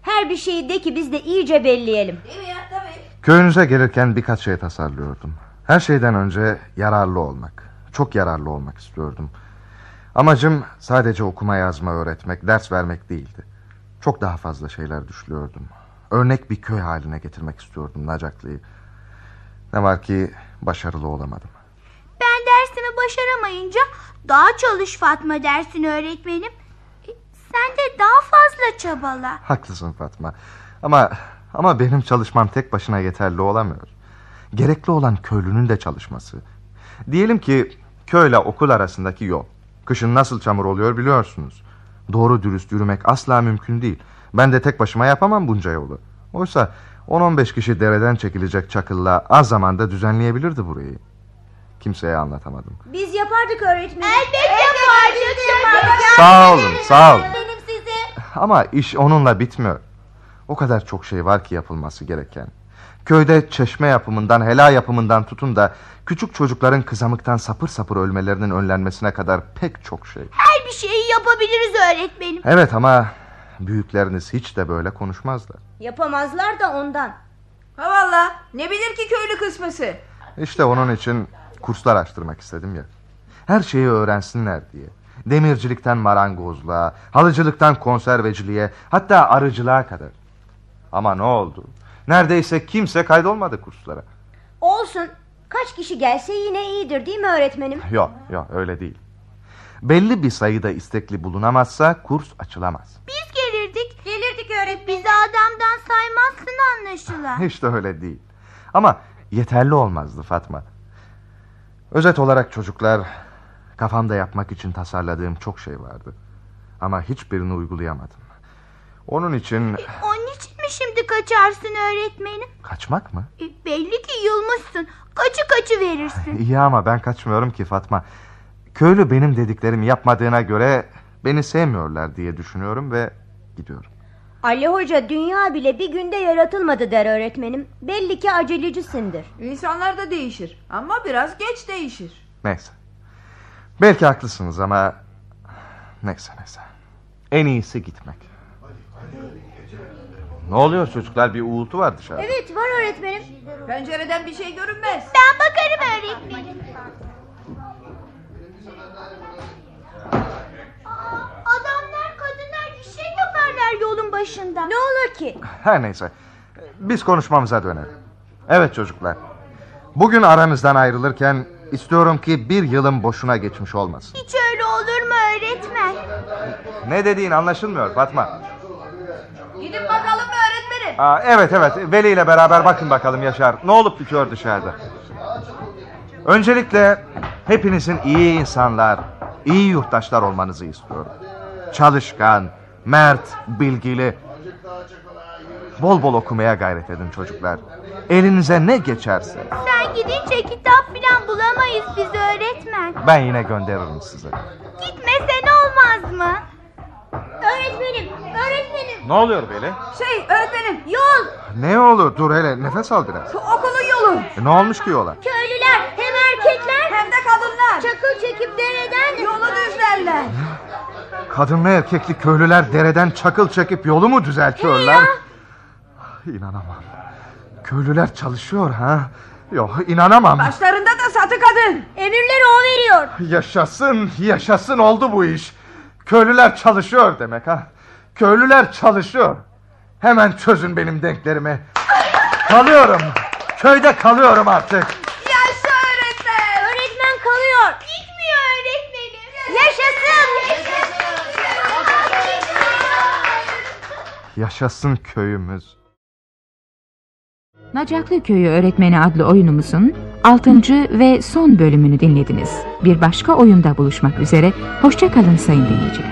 [SPEAKER 4] Her bir şeyi de ki biz de iyice belleyelim.
[SPEAKER 3] Değil mi ya? Tabii.
[SPEAKER 5] Köyünüze gelirken birkaç şey tasarlıyordum. Her şeyden önce yararlı olmak. Çok yararlı olmak istiyordum. Amacım sadece okuma yazma öğretmek, ders vermek değildi. Çok daha fazla şeyler düşünüyordum. Örnek bir köy haline getirmek istiyordum Nacaklı'yı. Ne var ki başarılı olamadım.
[SPEAKER 15] Ben dersimi başaramayınca daha çalış Fatma dersin öğretmenim. E, Sen de daha fazla çabala.
[SPEAKER 5] Haklısın Fatma. Ama ama benim çalışmam tek başına yeterli olamıyor. Gerekli olan köylünün de çalışması. Diyelim ki köyle okul arasındaki yol. Kışın nasıl çamur oluyor biliyorsunuz. Doğru dürüst yürümek asla mümkün değil. Ben de tek başıma yapamam bunca yolu. Oysa 10-15 kişi dereden çekilecek çakılla az zamanda düzenleyebilirdi burayı. Kimseye anlatamadım.
[SPEAKER 3] Biz yapardık öğretmenim.
[SPEAKER 15] Elbette yapardık, yapardık.
[SPEAKER 5] Sağ olun, sağ olun. Ama iş onunla bitmiyor. O kadar çok şey var ki yapılması gereken. Köyde çeşme yapımından, hela yapımından tutun da küçük çocukların kızamıktan sapır sapır ölmelerinin önlenmesine kadar pek çok şey.
[SPEAKER 15] Her bir şeyi yapabiliriz öğretmenim.
[SPEAKER 5] Evet ama büyükleriniz hiç de böyle konuşmazlar.
[SPEAKER 3] Yapamazlar da ondan.
[SPEAKER 4] Ha valla ne bilir ki köylü kısmısı.
[SPEAKER 5] İşte onun için kurslar açtırmak istedim ya. Her şeyi öğrensinler diye. Demircilikten marangozluğa, halıcılıktan konserveciliğe, hatta arıcılığa kadar. Ama ne oldu? Neredeyse kimse kaydolmadı kurslara.
[SPEAKER 3] Olsun. Kaç kişi gelse yine iyidir değil mi öğretmenim?
[SPEAKER 5] Yok, yok öyle değil. Belli bir sayıda istekli bulunamazsa kurs açılamaz.
[SPEAKER 15] Biz gelirdik. Gelirdik öğretmenim. Bizi adamdan saymazsın anlaşılan.
[SPEAKER 5] Hiç de öyle değil. Ama yeterli olmazdı Fatma. Özet olarak çocuklar kafamda yapmak için tasarladığım çok şey vardı. Ama hiçbirini uygulayamadım. Onun için
[SPEAKER 15] Onun için mi şimdi kaçarsın öğretmenim?
[SPEAKER 5] kaçmak mı?
[SPEAKER 15] E, Belli ki yılmışsın. Kaçı kaçı verirsin.
[SPEAKER 5] İyi ama ben kaçmıyorum ki Fatma. Köylü benim dediklerimi yapmadığına göre beni sevmiyorlar diye düşünüyorum ve gidiyorum.
[SPEAKER 3] Ali Hoca dünya bile bir günde yaratılmadı der öğretmenim. Belli ki acelecisindir.
[SPEAKER 4] İnsanlar da değişir ama biraz geç değişir.
[SPEAKER 5] Neyse. Belki haklısınız ama neyse neyse. En iyisi gitmek. Ne oluyor çocuklar bir uğultu var dışarıda.
[SPEAKER 3] Evet var öğretmenim.
[SPEAKER 4] Pencereden bir şey görünmez.
[SPEAKER 15] Ben bakarım öğretmenim. Aa, Adamlar kadınlar bir şey yaparlar yolun başında. Ne
[SPEAKER 3] olur ki?
[SPEAKER 5] Her neyse. Biz konuşmamıza dönelim. Evet çocuklar. Bugün aranızdan ayrılırken istiyorum ki bir yılın boşuna geçmiş olmasın.
[SPEAKER 15] Hiç öyle olur mu öğretmen?
[SPEAKER 5] Ne dediğin anlaşılmıyor Fatma.
[SPEAKER 4] Gidin bakalım öğretmenim.
[SPEAKER 5] Aa, evet evet Veli ile beraber bakın bakalım Yaşar. Ne olup bitiyor dışarıda. Öncelikle hepinizin iyi insanlar, iyi yurttaşlar olmanızı istiyorum. Çalışkan, mert, bilgili. Bol bol okumaya gayret edin çocuklar. Elinize ne geçerse
[SPEAKER 15] Sen gidince kitap filan bulamayız biz öğretmen.
[SPEAKER 5] ben yine gönderirim size.
[SPEAKER 15] Gitmesen olmaz mı? Öğretmenim, öğretmenim.
[SPEAKER 5] Ne oluyor Veli?
[SPEAKER 4] Şey öğretmenim. Yol.
[SPEAKER 5] Ne olur dur hele nefes al biraz.
[SPEAKER 4] Okulun yolu.
[SPEAKER 5] E, ne olmuş ki yola?
[SPEAKER 15] Köylüler hem erkekler
[SPEAKER 4] hem de kadınlar
[SPEAKER 15] çakıl çekip dereden
[SPEAKER 4] yolu düzlerler.
[SPEAKER 5] Kadınlı erkekli köylüler dereden çakıl çekip yolu mu düzeltiyorlar? İnanamam. Köylüler çalışıyor ha? Yok inanamam.
[SPEAKER 4] Başlarında da satı kadın.
[SPEAKER 15] Emirleri o veriyor.
[SPEAKER 5] Yaşasın, yaşasın oldu bu iş. Köylüler çalışıyor demek ha. Köylüler çalışıyor. Hemen çözün benim denklerimi. Kalıyorum. Köyde kalıyorum artık.
[SPEAKER 15] Yaşa öğretmen. Öğretmen kalıyor. Gitmiyor öğretmenim. Yaşasın.
[SPEAKER 5] Yaşasın köyümüz.
[SPEAKER 1] Nacaklı Köyü Öğretmeni adlı oyunumuzun 6. ve son bölümünü dinlediniz. Bir başka oyunda buluşmak üzere, hoşçakalın sayın dinleyiciler.